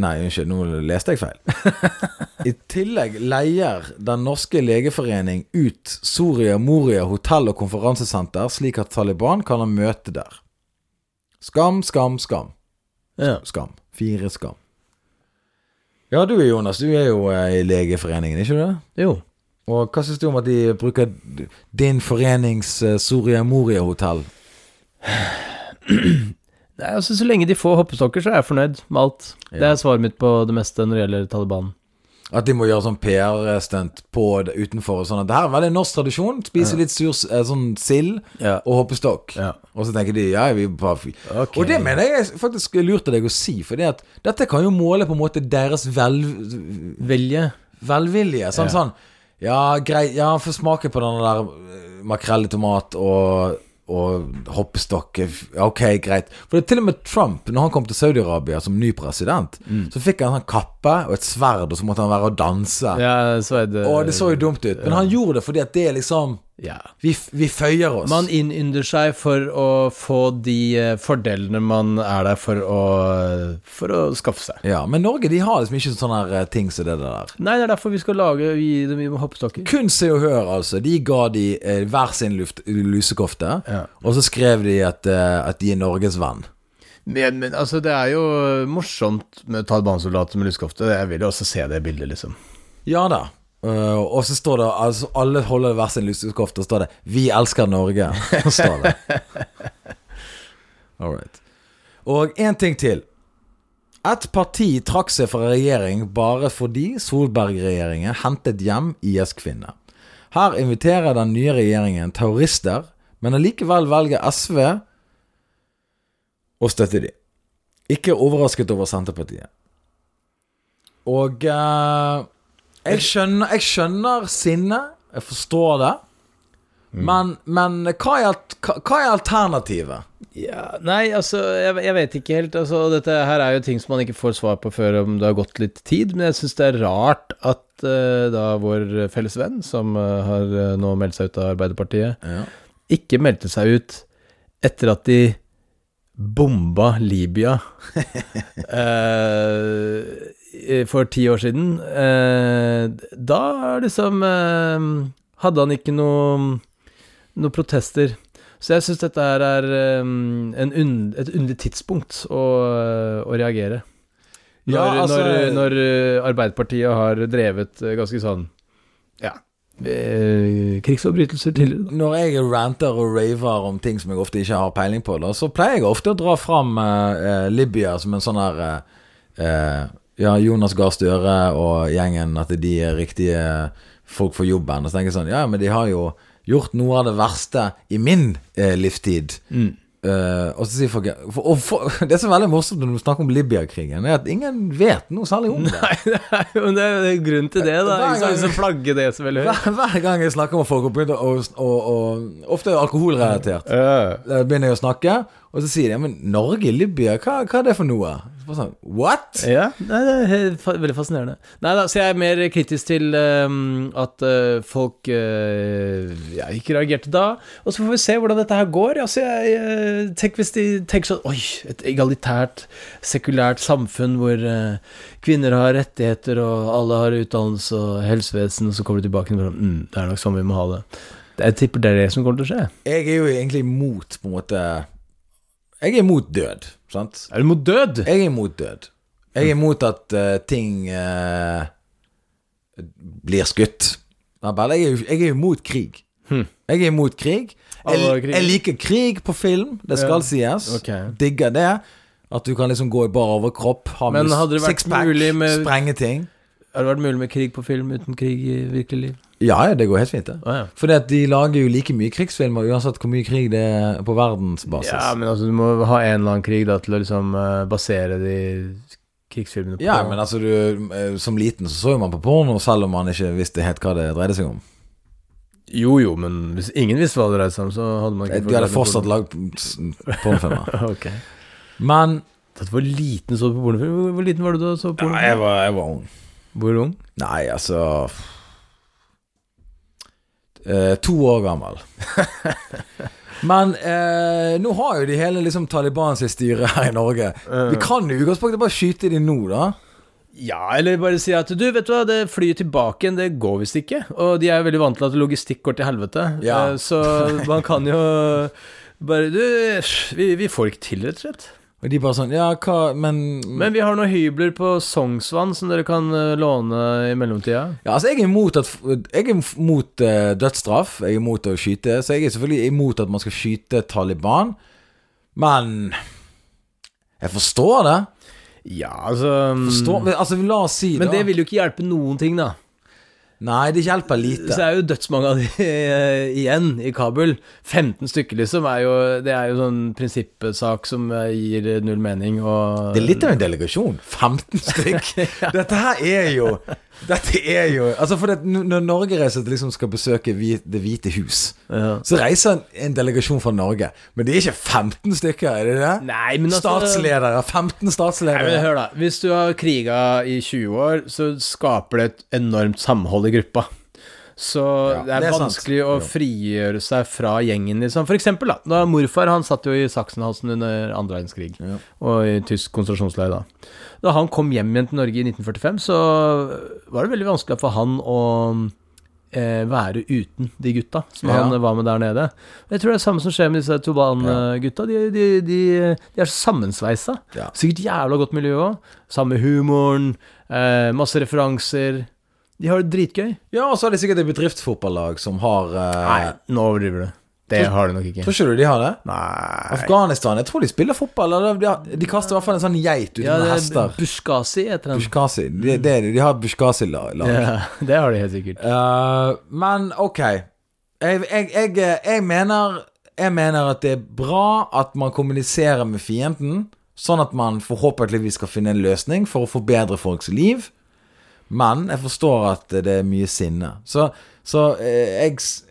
Speaker 2: Nei, unnskyld, nå leste jeg feil. I tillegg leier Den norske legeforening ut Soria Moria hotell og konferansesenter, slik at Taliban kan ha møte der. Skam, skam, skam.
Speaker 3: Ja.
Speaker 2: Skam. Fire skam. Ja, du Jonas, du er jo eh, i Legeforeningen, ikke du det?
Speaker 3: Jo.
Speaker 2: Og hva syns du om at de bruker din forenings eh, Soria Moria-hotell?
Speaker 3: Nei, altså, så lenge de får hoppestokker, så er jeg fornøyd med alt. Det er svaret mitt på det meste når det gjelder Taliban.
Speaker 2: At de må gjøre sånn PR-stunt på det utenfor og sånn. At det her er veldig norsk tradisjon. Spise litt sur eh, sånn sild
Speaker 3: Ja.
Speaker 2: og hoppestokk.
Speaker 3: Ja.
Speaker 2: Og så tenker de ja, vi bare fy.
Speaker 3: Ok.
Speaker 2: Og det mener jeg er faktisk lurt av deg å si, for dette kan jo måle på en måte deres vel...
Speaker 3: Velje.
Speaker 2: velvilje. Sånn sånn Ja, greit, ja, få smake på den der eh, makrell i tomat og, og hoppestokk. Ja, Ok, greit. For det er til og med Trump, når han kom til Saudi-Arabia som ny president,
Speaker 3: Mm.
Speaker 2: så fikk han en sånn kappe og et sverd, og så måtte han være og danse.
Speaker 3: Ja, Sveide
Speaker 2: Og det så jo dumt ut, men han gjorde det fordi at det er liksom
Speaker 3: ja.
Speaker 2: Vi, vi føyer oss.
Speaker 3: Man innynder seg for å få de eh, fordelene man er der for å, eh, for å skaffe seg.
Speaker 2: ja, men Norge de har liksom ikke sånne her, eh, ting som det der.
Speaker 3: Nei, det er derfor vi skal lage gi dem i hoppestokker.
Speaker 2: Kun Se og Hør, altså. De ga de eh, hver sin luft, lusekofte,
Speaker 3: Ja.
Speaker 2: og så skrev de at, eh, at de er Norges venn.
Speaker 3: Men, men altså, det er jo morsomt med Taliban-soldater med lusekofte. Jeg vil jo også se det bildet, liksom.
Speaker 2: Ja da. Eh, og så står det altså, Alle holder hver sin lusekofte, og står det 'Vi elsker Norge'. Så står det. All right. Og én ting til. Et parti trakk seg fra regjering bare fordi Solberg-regjeringen hentet hjem IS-kvinner. Her inviterer den nye regjeringen terrorister, men allikevel velger SV å støtte dem. Ikke overrasket over Senterpartiet. Og eh, jeg skjønner, jeg skjønner sinnet, jeg forstår det. Men, men hva, er, alt- hva, hva er alternativet?
Speaker 3: Ja, nei, altså, jeg, jeg vet ikke helt. Altså, dette her er jo ting som man ikke får svar på før om det har gått litt tid, men jeg syns det er rart at eh, da vår felles venn, som eh, har eh, nå meldt seg ut av Arbeiderpartiet,
Speaker 2: Ja.
Speaker 3: ikke meldte seg ut etter at de bomba Libya eh, for ti år siden. Eh, da liksom eh, hadde han ikke noe, noe protester. Så jeg syns dette her er eh, en un, et underlig tidspunkt å, eh, å reagere. Når,
Speaker 2: Ja, altså-
Speaker 3: når, når eh, Arbeiderpartiet har drevet eh, ganske sånn ja, eh, krigsforbrytelser tidligere, da.
Speaker 2: Når jeg ranter og raver om ting som jeg ofte ikke har peiling på, da, så pleier jeg ofte å dra fram eh, eh, Libya som en sånn her eh, eh, Ja, Jonas Gahr Støre og gjengen, at de er riktige folk for jobben. Og så tenker jeg sånn Ja, men de har jo gjort noe av det verste i min eh, livstid. Eh, og så sier folk for, og for, Det som er veldig morsomt når du snakker om Libya-krigen, er at ingen vet noe særlig om det.
Speaker 3: Nei, det er jo det er jo grunn til det, da.
Speaker 2: Hver
Speaker 3: Ikke sant?
Speaker 2: gang-
Speaker 3: Så flagge det så veldig høyt.
Speaker 2: Hver, hver gang jeg snakker med folk, og, begynner å- og, og, ofte er det alkoholrelatert
Speaker 3: Eh,
Speaker 2: Da begynner jeg å snakke, og så sier de ja, men Norge, Libya, hva, hva er det for noe? Så bare sånn, What?
Speaker 3: Ja, nei, det er helt fa- veldig fascinerende. Nei da, så jeg er mer kritisk til ehm, at eh, folk eh, ja, ikke reagerte da. Og så får vi se hvordan dette her går. Altså, jeg, eh, tenk hvis de tenker sånn Oi, et egalitært, sekulært samfunn hvor eh, kvinner har rettigheter, og alle har utdannelse og helsevesen, og så kommer de tilbake og bare mm, Det er nok sånn vi må ha det. Jeg tipper det er det som kommer til å skje.
Speaker 2: Jeg er jo egentlig imot, på en måte Jeg er imot død, sant?
Speaker 3: Er du mot død?
Speaker 2: Jeg er imot død. Jeg er imot at eh, ting eh, blir skutt. Ja, vel, Jeg er, jo- jeg er imot krig. Jeg er imot krig.
Speaker 3: Alle
Speaker 2: Jeg,
Speaker 3: Hm. krig.
Speaker 2: jeg liker krig på film, det skal sies.
Speaker 3: ok.
Speaker 2: Digger det. At du kan liksom gå i bar overkropp, ha
Speaker 3: Men
Speaker 2: mus-
Speaker 3: hadde det vært
Speaker 2: sixpack,
Speaker 3: mulig med-
Speaker 2: sprenge ting.
Speaker 3: Har det vært mulig med krig på film uten krig i virkelig liv?
Speaker 2: Ja, ja, det går helt fint, det.
Speaker 3: Å, ja.
Speaker 2: Fordi at de lager jo like mye krigsfilmer uansett hvor mye krig det er på verdensbasis.
Speaker 3: Ja, men altså, du må ha en eller annen krig da, til å liksom eh, basere de krigsfilmene på.
Speaker 2: Ja, men altså du, eh, Som liten så så jo man på porno, selv om man ikke visste helt hva det dreide seg om.
Speaker 3: Jo, jo, men hvis ingen visste hva det dreide seg om, så hadde man ikke
Speaker 2: De hadde
Speaker 3: fått
Speaker 2: fortsatt
Speaker 3: lagd
Speaker 2: lagd s- pornofilmer.
Speaker 3: porno. Ok.
Speaker 2: Men
Speaker 3: Tatt hvor liten så du på pornofilm? Hvor, hvor liten var du da du så på pornofilm?
Speaker 2: var, jeg var ung.
Speaker 3: Hvor ung?
Speaker 2: Nei, altså eh, To år gammel. Men eh, nå har jo de hele liksom, Talibans styre her i Norge. Vi kan jo i utgangspunktet bare skyte de nå, da.
Speaker 3: Ja, eller bare si at du, vet du hva, det flyet tilbake igjen, det går visst ikke. Og de er jo veldig vant til at logistikk går til helvete.
Speaker 2: Ja.
Speaker 3: Eh, Så man kan jo bare Du, vi, vi får ikke til, rett og slett.
Speaker 2: Og de bare sånn Ja, hva Men
Speaker 3: Men vi har noen hybler på Sognsvann som dere kan eh, låne i mellomtida.
Speaker 2: Ja, altså jeg er imot, at, jeg er imot eh, dødsstraff, jeg er imot å skyte, så jeg er selvfølgelig imot at man skal skyte Taliban, men jeg forstår det.
Speaker 3: Ja, altså
Speaker 2: Forstår, Altså, la oss si
Speaker 3: Men
Speaker 2: da.
Speaker 3: det vil jo ikke hjelpe noen ting, da.
Speaker 2: Nei, det hjelper
Speaker 3: Så
Speaker 2: lite.
Speaker 3: er jo dødsmange av de eh, igjen i Kabul. 15 stykker, liksom. Er jo, det er jo sånn prinsippsak som eh, gir eh, null mening og
Speaker 2: Det er litt av en delegasjon. 15 stykk. Dette her er jo Dette er jo Altså for det, n- Når Norge reiser til liksom skal besøke vi, Det hvite hus, så reiser en, en delegasjon fra Norge. Men det er ikke 15 stykker, er det det?
Speaker 3: Nei, men altså-
Speaker 2: Statsledere. 15
Speaker 3: Nei, men
Speaker 2: statsledere.
Speaker 3: hør da, Hvis du har kriga i 20 år, så skaper det et enormt samhold i gruppa. Så det er,
Speaker 2: det er sant.
Speaker 3: vanskelig å frigjøre seg fra gjengen, liksom. For eksempel, da. da morfar han satt jo i Sachsenhausen under andre verdenskrig, og i tysk konsentrasjonsleir da. Da han kom hjem igjen til Norge i 1945, så var det veldig vanskelig for han å eh, være uten de gutta som
Speaker 2: Ja.
Speaker 3: han var med der nede. Jeg tror det er det samme som skjer med disse Toban-gutta. De, de, de, de er så sammensveisa.
Speaker 2: Ja.
Speaker 3: Sikkert jævla godt miljø òg. Samme humoren, eh, masse referanser. De har det dritgøy.
Speaker 2: Ja, og så har de sikkert et bedriftsfotballag som har eh,
Speaker 3: nå overdriver du. Det har de nok ikke.
Speaker 2: Tror ikke du de har det?
Speaker 3: Nei
Speaker 2: Afghanistan. Jeg tror de spiller fotball. Eller de, har, de kaster i hvert fall en sånn geit ut
Speaker 3: ja,
Speaker 2: med
Speaker 3: det er
Speaker 2: hester.
Speaker 3: Buskasi heter den.
Speaker 2: Bushkasi. De, de, de har bushkasi-lag.
Speaker 3: Ja, det har de helt sikkert.
Speaker 2: Eh, men ok. Jeg, jeg, jeg, jeg, mener, jeg mener at det er bra at man kommuniserer med fienden, sånn at man forhåpentligvis skal finne en løsning for å forbedre folks liv. Men jeg forstår at det er mye sinne. Så, så eh, jeg, s-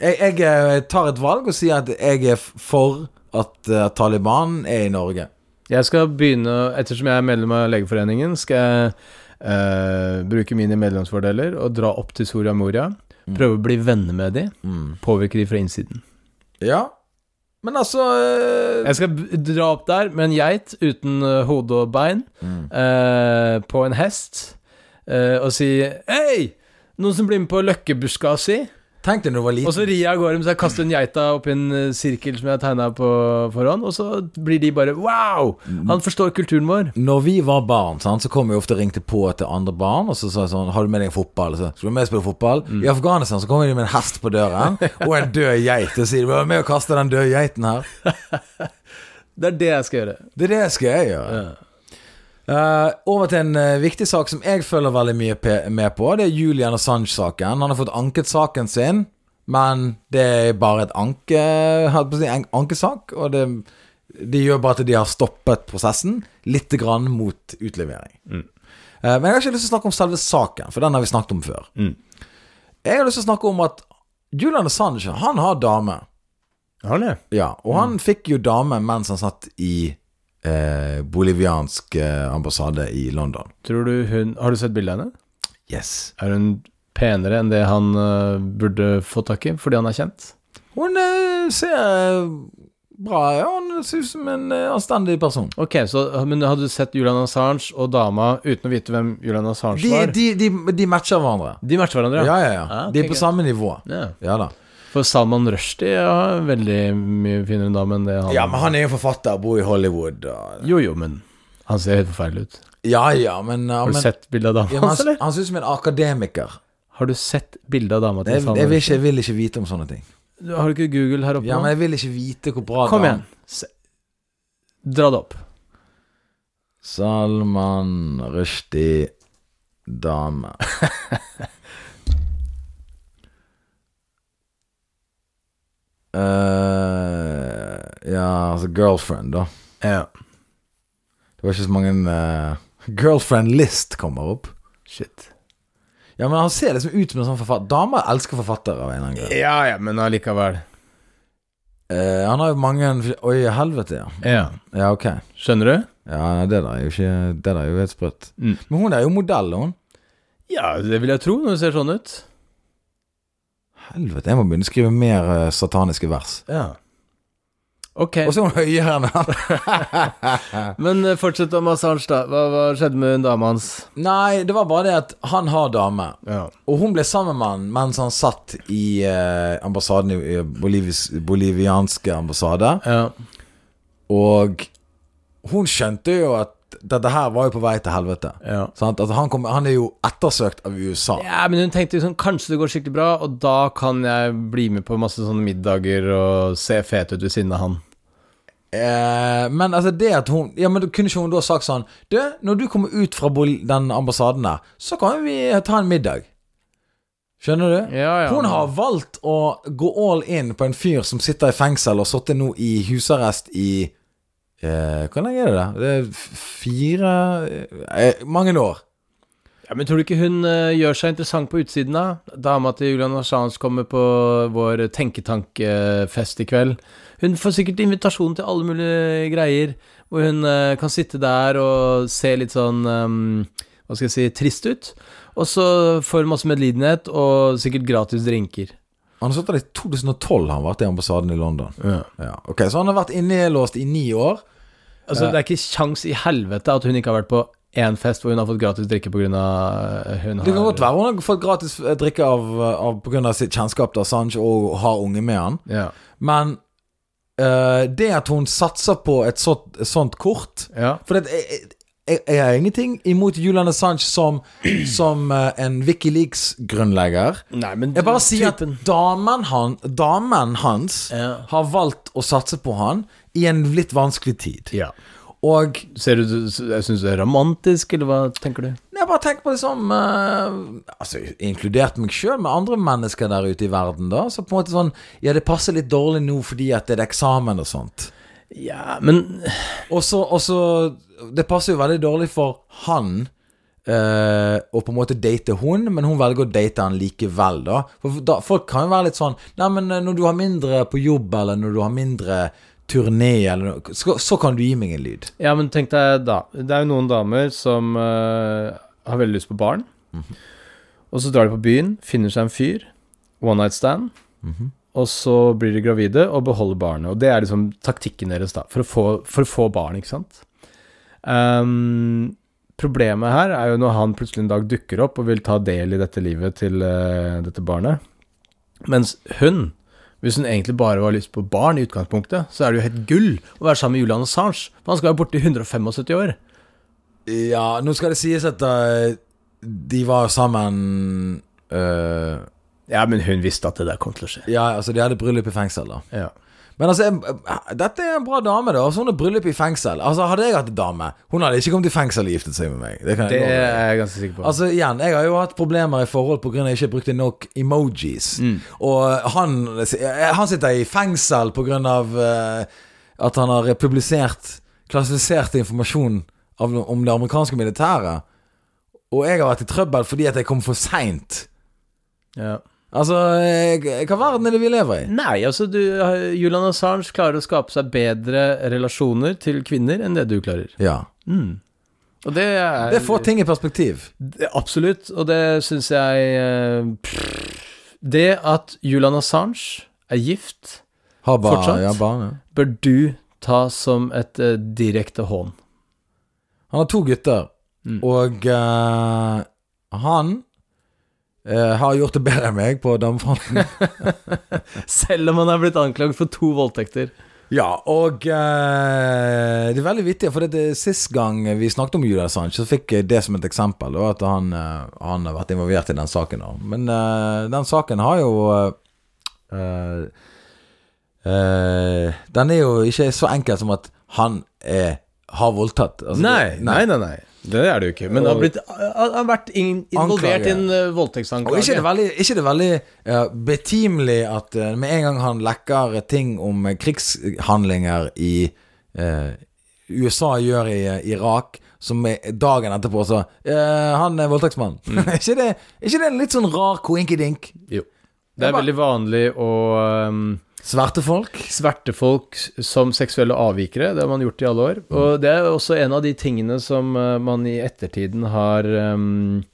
Speaker 2: jeg, jeg eh, tar et valg og sier at jeg er f- for at eh, Taliban er i Norge.
Speaker 3: Jeg skal begynne, ettersom jeg er medlem av Legeforeningen, skal jeg eh, bruke mine medlemsfordeler og dra opp til Soria Moria. Prøve å bli venner med de. Påvirke de fra innsiden.
Speaker 2: Ja. Men altså eh,
Speaker 3: Jeg skal b- dra opp der med en geit uten eh, hode og bein, eh, på en hest, eh, og si Hei! Noen som blir med på løkkebuska si?
Speaker 2: Tenk deg når du var
Speaker 3: Og
Speaker 2: liten.
Speaker 3: så rir jeg av gårde mens jeg kaster en geita oppi en eh, sirkel som jeg har tegna på forhånd, og så blir de bare Wow! Han forstår kulturen vår.
Speaker 2: Når vi var barn, sant, så kom vi ofte og ringte på til andre barn og så sa jeg sånn 'Har du med deg fotball?' Så, 'Skal du med og spille fotball?' I Afghanistan så kommer de med en hest på døren og en død geit og sier 'Vær med og kaste den døde geiten her'.
Speaker 3: Det er det jeg skal gjøre.
Speaker 2: Det er det skal jeg gjøre. Eh, over til en eh, viktig sak som jeg følger veldig mye pe- med på. Det er Julian Assange-saken. Han har fått anket saken sin, men det er bare et anke, holdt på å si, en ankesak. Og det, det gjør bare at de har stoppet prosessen lite grann mot utlevering. Eh, men jeg har ikke lyst til å snakke om selve saken, for den har vi snakket om før. Jeg har lyst til å snakke om at Julian Assange, han har dame.
Speaker 3: Har han det?
Speaker 2: Ja, og han fikk jo dame mens han satt i eh, boliviansk eh, ambassade i London.
Speaker 3: Tror du hun Har du sett bildet av henne?
Speaker 2: Yes.
Speaker 3: Er hun penere enn det han eh, burde få tak i, fordi han er kjent?
Speaker 2: Hun eh, ser eh, bra ja, Hun ser ut som en eh, anstendig person.
Speaker 3: Ok, så, Men hadde du sett Julian Assange og dama uten å vite hvem Julian Assange
Speaker 2: De,
Speaker 3: var? De,
Speaker 2: de, de, de matcher hverandre.
Speaker 3: matcher hverandre,
Speaker 2: Ja, ja, ja.
Speaker 3: Ah, ok,
Speaker 2: de er på
Speaker 3: greit.
Speaker 2: samme nivå.
Speaker 3: Ja.
Speaker 2: Ja da.
Speaker 3: For Salman Rushdie er veldig mye finere dame enn det han
Speaker 2: Ja, men han er jo forfatter, bor i Hollywood og
Speaker 3: Jo, jo, men han ser helt forferdelig ut.
Speaker 2: Ja ja, men, ja,
Speaker 3: Har du
Speaker 2: men
Speaker 3: sett bilde av dama
Speaker 2: ja, men
Speaker 3: hans,
Speaker 2: han,
Speaker 3: eller?
Speaker 2: han ser ut som en akademiker.
Speaker 3: Har du sett bilde av dama til
Speaker 2: Jeg,
Speaker 3: Salman
Speaker 2: jeg, vil ikke, jeg vil ikke vite om sånne ting.
Speaker 3: Rushdie? Har du ikke Google her oppe
Speaker 2: Ja,
Speaker 3: nå?
Speaker 2: men jeg vil ikke vite hvor bra
Speaker 3: Kom
Speaker 2: dame-
Speaker 3: igjen. Se. Dra det opp.
Speaker 2: Salman Rushdie dame. Eh, ja, altså girlfriend, da.
Speaker 3: Ja.
Speaker 2: Det var ikke så mange eh, Girlfriend list kommer opp.
Speaker 3: Shit.
Speaker 2: Ja, men Han ser liksom ut som en sånn forfatter. Damer elsker forfattere. av en eller annen grunn.
Speaker 3: Ja, ja, men allikevel.
Speaker 2: Eh, han har jo mange Oi, helvete, ja.
Speaker 3: Ja.
Speaker 2: Ja, ok.
Speaker 3: Skjønner du?
Speaker 2: Ja, Det der er jo ikke Det der er jo helt sprøtt.
Speaker 3: Mm.
Speaker 2: Men hun er jo modell, hun.
Speaker 3: Ja, det vil jeg tro når det ser sånn ut.
Speaker 2: Helvete, jeg må begynne å skrive mer eh, sataniske vers.
Speaker 3: Ja. Ok.
Speaker 2: Og så er hun høyere enn han.
Speaker 3: Men eh, fortsett om Assange, da. Hva, hva skjedde med hun dama hans?
Speaker 2: Nei, det var bare det at han har dame.
Speaker 3: Ja.
Speaker 2: Og hun ble sammen med han mens han satt i eh, ambassaden i i Bolivis, bolivianske ambassade.
Speaker 3: ja.
Speaker 2: Og hun skjønte jo at dette her var jo på vei til helvete.
Speaker 3: Ja.
Speaker 2: Sant? At han, kom, han er jo ettersøkt av USA.
Speaker 3: men hun tenkte liksom kanskje det går skikkelig bra, og da kan jeg bli med på masse sånne middager og se fet ut ved siden av han.
Speaker 2: Eh, men altså det at hun Ja, men da kunne ikke hun da sagt sånn Du, når du kommer ut fra bol- den ambassaden der, så kan vi ta en middag. Skjønner du?
Speaker 3: Ja, ja.
Speaker 2: Hun har valgt å gå all in på en fyr som sitter i fengsel og sittet nå i husarrest i eh, Hvor lenge er det? da? Det er f- fire eh, Mange eh, år.
Speaker 3: Ja, men tror du ikke hun eh, gjør seg interessant på utsiden da? Dama til Julian Assange kommer på vår tenketankfest i kveld. Hun får sikkert invitasjon til alle mulige greier, hvor hun eh, kan sitte der og se litt sånn ehm, Hva skal jeg si trist ut. Og så får hun masse medlidenhet og sikkert gratis drinker.
Speaker 2: Han satt der i 2012 han vært i ambassaden i London.
Speaker 3: Ja.
Speaker 2: Ja, ok, Så han har vært innelåst i ni år.
Speaker 3: Altså, det er ikke kjangs i helvete at hun ikke har vært på én fest hvor hun har fått gratis drikke pga. eh, hun
Speaker 2: Det kan
Speaker 3: har
Speaker 2: godt være hun har fått gratis eh, drikke av, av pga. sitt kjennskap til Assange og har unge med han.
Speaker 3: Ja.
Speaker 2: Men eh, det at hun satser på et sånt, sånt kort
Speaker 3: ja.
Speaker 2: For det, jeg, jeg, jeg har ingenting imot Julian Assange som, som eh, en Wikileaks-grunnlegger.
Speaker 3: Nei, men
Speaker 2: Jeg bare sier at damen, han, damen hans
Speaker 3: Ja.
Speaker 2: har valgt å satse på han i en litt vanskelig tid.
Speaker 3: ja.
Speaker 2: Og
Speaker 3: Ser du, jeg synes det er romantisk, eller hva tenker du?
Speaker 2: Nei, Jeg bare tenker på liksom eh, Altså, inkludert meg sjøl, med andre mennesker der ute i verden, da. Så på en måte sånn Ja, det passer litt dårlig nå fordi at det er eksamen og sånt.
Speaker 3: Ja, men
Speaker 2: Og så og så- Det passer jo veldig dårlig for han eh, å på en måte date hun, men hun velger å date han likevel, da. For da, folk kan jo være litt sånn Nei, men eh, når du har mindre på jobb, eller når du har mindre turné, eller noe, så, så kan du gi meg en lyd.
Speaker 3: Ja, men tenk deg da Det er jo noen damer som eh, har veldig lyst på barn Og så drar de på byen, finner seg en fyr One night stand Og så blir de gravide og beholder barnet Og det er liksom taktikken deres da For å få, for å få barn, ikke sant? Ehm, problemet her er jo når han plutselig en dag dukker opp Og vil ta del i dette livet til eh, dette barnet Mens hun hvis hun egentlig bare har lyst på barn i utgangspunktet, så er det jo helt gull å være sammen med Julian Assange. For han skal være borte i 175 år.
Speaker 2: Ja, nå skal det sies at eh, de var sammen eh,
Speaker 3: Ja, men hun visste at det der kom til å skje.
Speaker 2: Ja, altså de hadde bryllup i fengsel, da.
Speaker 3: Ja.
Speaker 2: Men altså, jeg- dette er en bra dame, da. Altså, hun har bryllup i fengsel. Altså, Hadde jeg hatt en dame Hun hadde ikke kommet i fengsel og giftet seg med meg. Det kan
Speaker 3: Det
Speaker 2: jeg love deg.
Speaker 3: er jeg ganske sikker på.
Speaker 2: Altså igjen, Jeg har jo hatt problemer i forhold pga. at jeg ikke brukte nok emojis. Og eh, han, han sitter i fengsel pga. Uh, at han har publisert klassifisert informasjon av, om det amerikanske militæret. Og jeg har vært i trøbbel fordi at jeg kom for seint.
Speaker 3: ja.
Speaker 2: Altså, jeg, hva verden er det vi lever i?
Speaker 3: Nei, altså du, Julian Assange klarer å skape seg bedre relasjoner til kvinner enn det du klarer.
Speaker 2: Ja.
Speaker 3: Og det er
Speaker 2: Det får ting i perspektiv.
Speaker 3: Det- Absolutt, og det syns jeg eh, pff. Det at Julian Assange er gift,
Speaker 2: Har bare,
Speaker 3: Fortsatt?
Speaker 2: Ja, bare, ja.
Speaker 3: bør du ta som et eh, direkte hån.
Speaker 2: Han har to gutter, og eh, han eh, har gjort det bedre enn meg på damefronten.
Speaker 3: Selv om han er blitt anklaget for to voldtekter.
Speaker 2: ja, og eh, det er veldig vittig, for det, det, sist gang vi snakket om Julian Assange, så fikk jeg det som et eksempel, og at han, eh, han har vært involvert i den saken. Da. Men eh, den saken har jo eh, eh, eh, Den er jo ikke så enkel som at han er, har voldtatt. Altså,
Speaker 3: Nei,
Speaker 2: det-
Speaker 3: nei, nei, nei. Det er det jo ikke. Men han har, blitt, han har vært in, involvert
Speaker 2: Anklage.
Speaker 3: i en eh,
Speaker 2: Og ikke
Speaker 3: voldtektsanklage.
Speaker 2: det veldig, ikke det veldig eh, betimelig at eh, med en gang han lekker ting om eh, krigshandlinger i eh, USA gjør i eh, Irak, som er dagen etterpå så eh, Han er voldtektsmann. Er ikke, det, er ikke det en litt sånn rar koinkidink?
Speaker 3: Jo. Det er veldig vanlig å ehm,
Speaker 2: Svarte folk?
Speaker 3: sverte folk som seksuelle avvikere. Det har man gjort i alle år. Og det er også en av de tingene som eh, man i ettertiden har ehm,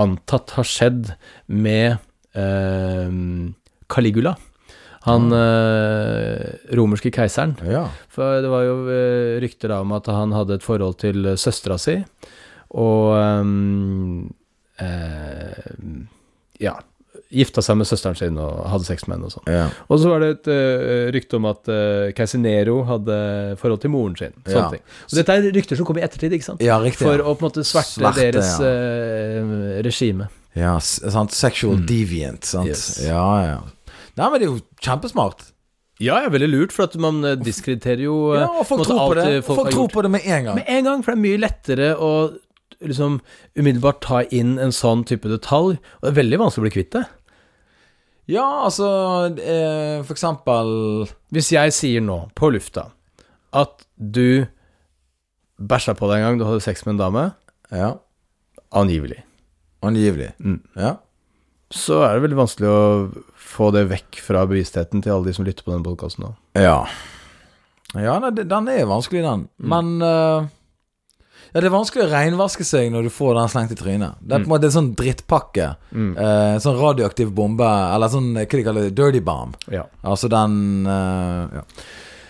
Speaker 3: antatt har skjedd med ehm, Caligula. Han eh, romerske keiseren.
Speaker 2: Ja.
Speaker 3: For det var jo eh, rykter da om at han hadde et forhold til eh, søstera si, og ehm, eh, ja, gifta seg med søsteren sin og hadde sex med henne og sånn.
Speaker 2: ja.
Speaker 3: Og så var det et eh, rykte om at eh, keiser Nero hadde forhold til moren sin. Sånne
Speaker 2: Ja.
Speaker 3: ting. Og dette er rykter som kom i ettertid, ikke sant?
Speaker 2: Ja, riktig.
Speaker 3: For
Speaker 2: Ja.
Speaker 3: å på en måte sverte,
Speaker 2: Sverte,
Speaker 3: deres
Speaker 2: ja.
Speaker 3: eh, regime.
Speaker 2: Ja, s- sant? Sexual deviant, sant?
Speaker 3: Yes.
Speaker 2: Ja, ja. Nei, men det er jo kjempesmart.
Speaker 3: Ja, det er veldig lurt, for at man eh, diskrediterer jo eh,
Speaker 2: Ja, og folk
Speaker 3: på en måte
Speaker 2: tror på
Speaker 3: alt,
Speaker 2: det.
Speaker 3: eh,
Speaker 2: Folk,
Speaker 3: har
Speaker 2: tror
Speaker 3: gjort.
Speaker 2: på det med en gang.
Speaker 3: Med en gang, for det er mye lettere å liksom umiddelbart ta inn en sånn type detalj, og det er veldig vanskelig å bli kvitt det.
Speaker 2: Ja, altså eh, For eksempel
Speaker 3: Hvis jeg sier nå, på lufta, at du bæsja på deg en gang du hadde sex med en dame,
Speaker 2: Ja.
Speaker 3: angivelig,
Speaker 2: Angivelig.
Speaker 3: Mm.
Speaker 2: Ja.
Speaker 3: så er det veldig vanskelig å få det vekk fra bevisstheten til alle de som lytter på den podkasten nå.
Speaker 2: Ja, ja nei, det- den er vanskelig, den.
Speaker 3: Mm.
Speaker 2: Men eh, Ja, det er vanskelig å renvaske seg når du får den slengt i trynet. Det er
Speaker 3: Mm.
Speaker 2: på en måte en sånn drittpakke. Eh, sånn radioaktiv bombe, eller sånn eh, hva de kaller det, dirty bomb.
Speaker 3: Ja.
Speaker 2: Altså den eh, ja.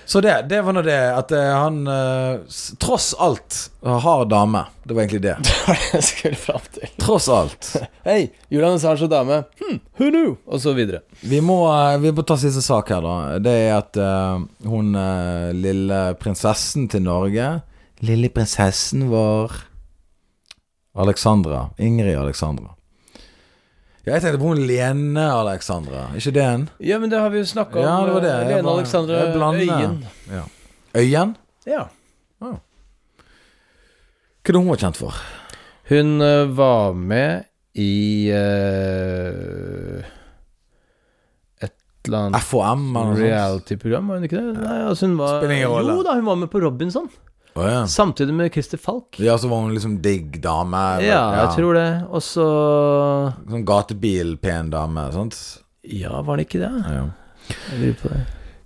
Speaker 2: Så det, det var nå det at eh, han eh, s- tross alt eh, har dame. Det var egentlig det.
Speaker 3: Det var det jeg skulle fram til.
Speaker 2: Tross alt.
Speaker 3: Hei, Julian Assange og dame. Hm, who knew? Og så videre.
Speaker 2: Vi må, eh, vi må ta siste sak her, da. Det er at eh, hun eh, lille prinsessen til Norge Lille prinsessen var Alexandra. Ingrid Alexandra. Ja, jeg tenkte på hun Lene Alexandra. Ikke det en?
Speaker 3: Ja, men det har vi jo snakka om.
Speaker 2: Ja, det var det.
Speaker 3: eh,
Speaker 2: Jeg
Speaker 3: Lene
Speaker 2: bare-
Speaker 3: Alexandra
Speaker 2: jeg blander.
Speaker 3: Øyen.
Speaker 2: Ja. Øyen?
Speaker 3: Ja.
Speaker 2: Hva er det hun var kjent for?
Speaker 3: Hun eh, var med i eh, et eller annet
Speaker 2: FHM eller noe sånt?
Speaker 3: reality-program, var hun ikke det? Nei, altså hun var
Speaker 2: Spiller ingen rolle.
Speaker 3: Jo da, hun var med på Robinson.
Speaker 2: Å, ja.
Speaker 3: Samtidig med Christer Falk.
Speaker 2: ja, så var hun liksom digg dame. eller-
Speaker 3: Ja, jeg tror det. Og så
Speaker 2: Sånn gatebil, pen dame, sant?
Speaker 3: Ja, var det ikke det?
Speaker 2: Ja.
Speaker 3: Jeg lurer på det.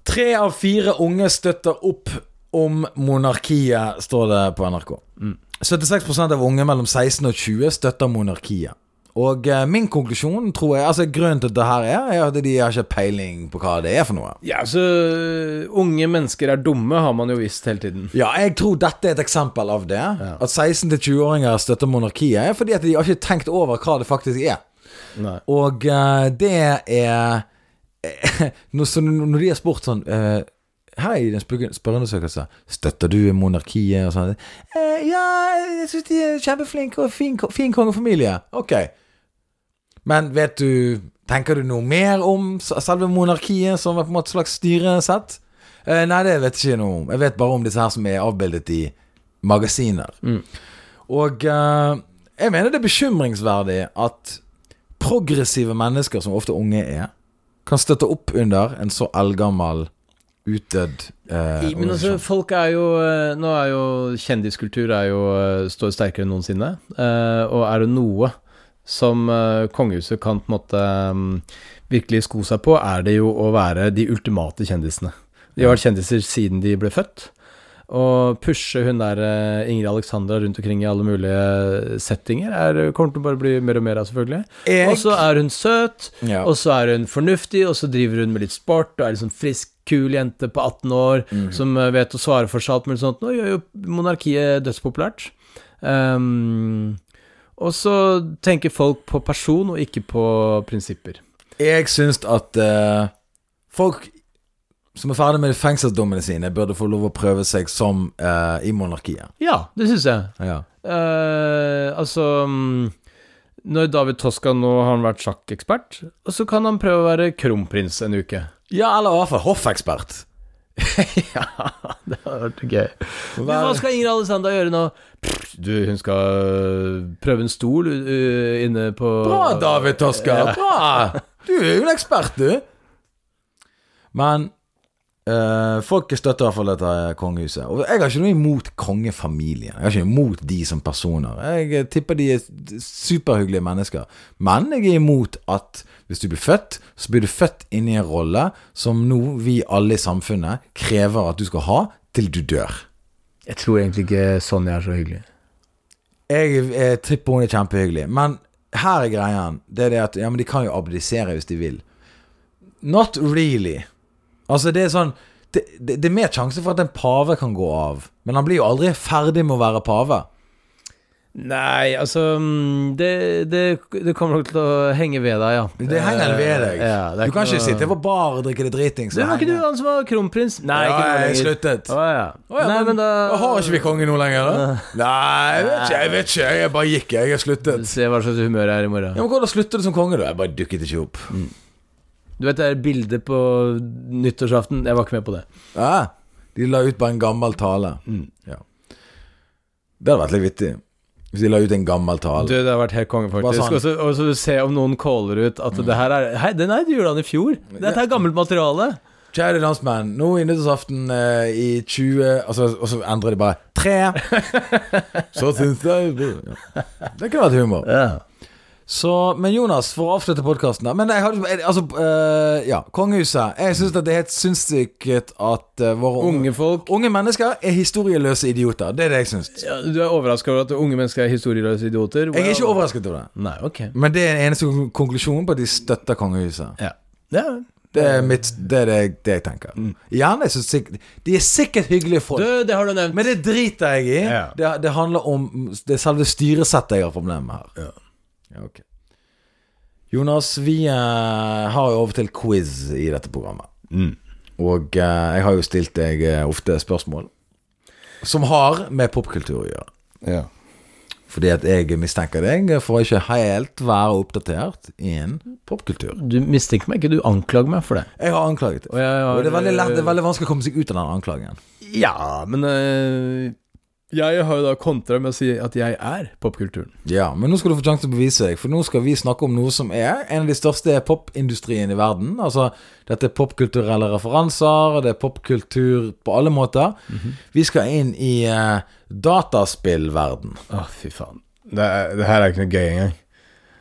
Speaker 2: Tre av fire unge støtter opp om monarkiet, står det på NRK. 76 av unge mellom 16 og 20 støtter monarkiet. Og eh, min konklusjon, tror jeg Altså grunnen til at det her er, er at de har ikke peiling på hva det er for noe.
Speaker 3: Ja, så unge mennesker er dumme, har man jo visst hele tiden.
Speaker 2: Ja, jeg tror dette er et eksempel av det. At 16- til 20-åringer støtter monarkiet, er fordi at de har ikke tenkt over hva det faktisk er.
Speaker 3: Nei.
Speaker 2: Og eh, det er når, så når de har spurt sånn eh, Hei, i den spørre- spørreundersøkelsen. Støtter du monarkiet og sånn? «Eh, ja, jeg syns de er kjempeflinke og fin, ko- fin kongefamilie. Ok. Men vet du Tenker du noe mer om s- selve monarkiet som er på en måte et slags styresett? Eh, nei, det vet jeg ikke noe om. Jeg vet bare om disse her som er avbildet i magasiner.
Speaker 3: Mm.
Speaker 2: Og eh, jeg mener det er bekymringsverdig at progressive mennesker, som ofte unge er, kan støtte opp under en så eldgammel, utdødd eh,
Speaker 3: Men altså,
Speaker 2: organisasjon.
Speaker 3: folk er jo eh, Nå er jo kjendiskultur er jo, eh, står sterkere enn noensinne. Eh, og er det noe som eh, kongehuset kan på en måte mm, virkelig sko seg på, er det jo å være de ultimate kjendisene. De har vært kjendiser siden de ble født. Å pushe hun der eh, Ingrid Alexandra rundt omkring i alle mulige eh, settinger er, kommer til å bare bli mer og mer av, selvfølgelig.
Speaker 2: Jeg-
Speaker 3: Og så er hun søt,
Speaker 2: Ja.
Speaker 3: og så er hun fornuftig, og så driver hun med litt sport og er liksom frisk, kul jente på 18 år som eh, vet å svare for seg alt mulig sånt. Nå gjør jo monarkiet dødspopulært. Ehm, og så tenker folk på person og ikke på prinsipper.
Speaker 2: Jeg syns at eh, folk som er ferdig med fengselsdommene sine, burde få lov å prøve seg som eh, i monarkiet.
Speaker 3: Ja, det syns jeg.
Speaker 2: Ja.
Speaker 3: Eh, altså mm, Når David Toska nå har han vært sjakkekspert, og så kan han prøve å være kronprins en uke.
Speaker 2: eller i hvert fall hoffekspert.
Speaker 3: ja, det hadde vært gøy. Men hva
Speaker 2: Vær-
Speaker 3: skal Ingrid Alexandra gjøre nå? Pff, Du, hun skal øh, prøve en stol øh, inne på
Speaker 2: Bra, David Tosker. Bra! Du er jo en ekspert, du. Men eh, folk støtter i hvert fall dette kongehuset. Og jeg har ikke noe imot kongefamilien. Jeg har ikke noe imot de som personer. Jeg tipper de er superhyggelige mennesker. Men jeg er imot at hvis du blir født, så blir du født inn i en rolle som nå vi alle i samfunnet krever at du skal ha til du dør.
Speaker 3: Jeg tror egentlig ikke Sonja er så hyggelig.
Speaker 2: Jeg, eh, tipper hun er kjempehyggelig. Men her er greien. Det er det at ja, men de kan jo abdisere hvis de vil. Not really. Altså, det er sånn det, det, det er mer sjanse for at en pave kan gå av. Men han blir jo aldri ferdig med å være pave.
Speaker 3: Nei, altså mm, Det, det, det kommer nok til å henge ved deg, ja. Eh,
Speaker 2: Det henger ved deg.
Speaker 3: Ja, det er
Speaker 2: du kan
Speaker 3: noe-
Speaker 2: ikke sitte på bar og drikke det dritings.
Speaker 3: Det
Speaker 2: og
Speaker 3: var ikke du
Speaker 2: henge.
Speaker 3: han som var kronprins? Nei,
Speaker 2: Ja,
Speaker 3: ikke nå
Speaker 2: jeg
Speaker 3: lenger.
Speaker 2: sluttet.
Speaker 3: Å, ja.
Speaker 2: Å, ja,
Speaker 3: Nei, men da
Speaker 2: Har ikke vi konge nå lenger, da? Nei, jeg vet ikke. Jeg vet ikke, jeg bare gikk, jeg. Jeg sluttet.
Speaker 3: Se hva slags humør jeg er i
Speaker 2: Ja,
Speaker 3: morgen.
Speaker 2: men Hvordan slutter du som konge, da? Jeg bare dukket ikke opp.
Speaker 3: Du vet det er bildet på nyttårsaften? Jeg var ikke med på det.
Speaker 2: Ja, de la ut bare en gammel tale. Ja. Det hadde vært litt vittig. Hvis de la ut en gammel
Speaker 3: Du,
Speaker 2: tale.
Speaker 3: det har vært helt konge,
Speaker 2: Bare
Speaker 3: faktisk.
Speaker 2: sånn.
Speaker 3: Og så- Og så se om noen caller ut at det her er Hei, den her gjorde han i fjor! Dette er gammelt materiale!
Speaker 2: Kjære landsmenn, nå i nyttårsaften eh, i 20 altså, Og så endrer de bare 3. så syns jeg ja. Det kunne vært humor. Så, men Jonas, for å avslutte podkasten Men jeg hadde, jeg- altså, eh, ja, kongehuset. Jeg syns det er helt sinnssykt at eh, våre unge,
Speaker 3: Unge folk
Speaker 2: unge mennesker er historieløse idioter. Det er det jeg syns.
Speaker 3: ja, Du er overraska over at unge mennesker er historieløse idioter?
Speaker 2: Jeg er ikke overrasket over det.
Speaker 3: Nei, ok.
Speaker 2: Men det er den eneste konklusjonen på at de støtter kongehuset.
Speaker 3: Ja. ja.
Speaker 2: Det er, mitt, det, er det, jeg- det jeg tenker. Gjerne så sikkert De er sikkert hyggelige folk.
Speaker 3: Du, det har du nevnt.
Speaker 2: Men det driter jeg i.
Speaker 3: Ja.
Speaker 2: Det, det handler om Det er selve styresettet jeg har problemer med her. Ja, ok. Jonas, vi eh, har jo av og til quiz i dette programmet.
Speaker 3: Mm.
Speaker 2: Og eh, jeg har jo stilt deg eh, ofte spørsmål som har med popkultur å gjøre.
Speaker 3: Ja.
Speaker 2: Fordi at jeg mistenker deg for å ikke helt være oppdatert innen popkultur.
Speaker 3: Du mistenker meg ikke, du anklager meg for det.
Speaker 2: Jeg har anklaget deg.
Speaker 3: Og jeg har-
Speaker 2: og det er, veldig lett, det er veldig vanskelig å komme seg ut av den anklagen.
Speaker 3: Ja, men eh, jeg har jo da kontra med å si at jeg er popkulturen.
Speaker 2: Ja, men nå skal du få sjansen til å bevise deg, for nå skal vi snakke om noe som er en av de største popindustrien i verden. Altså, dette er popkulturelle referanser, og det er popkultur på alle måter. Vi skal inn i eh, dataspillverden.
Speaker 3: Å, fy faen. Det, er- det her er ikke noe gøy engang.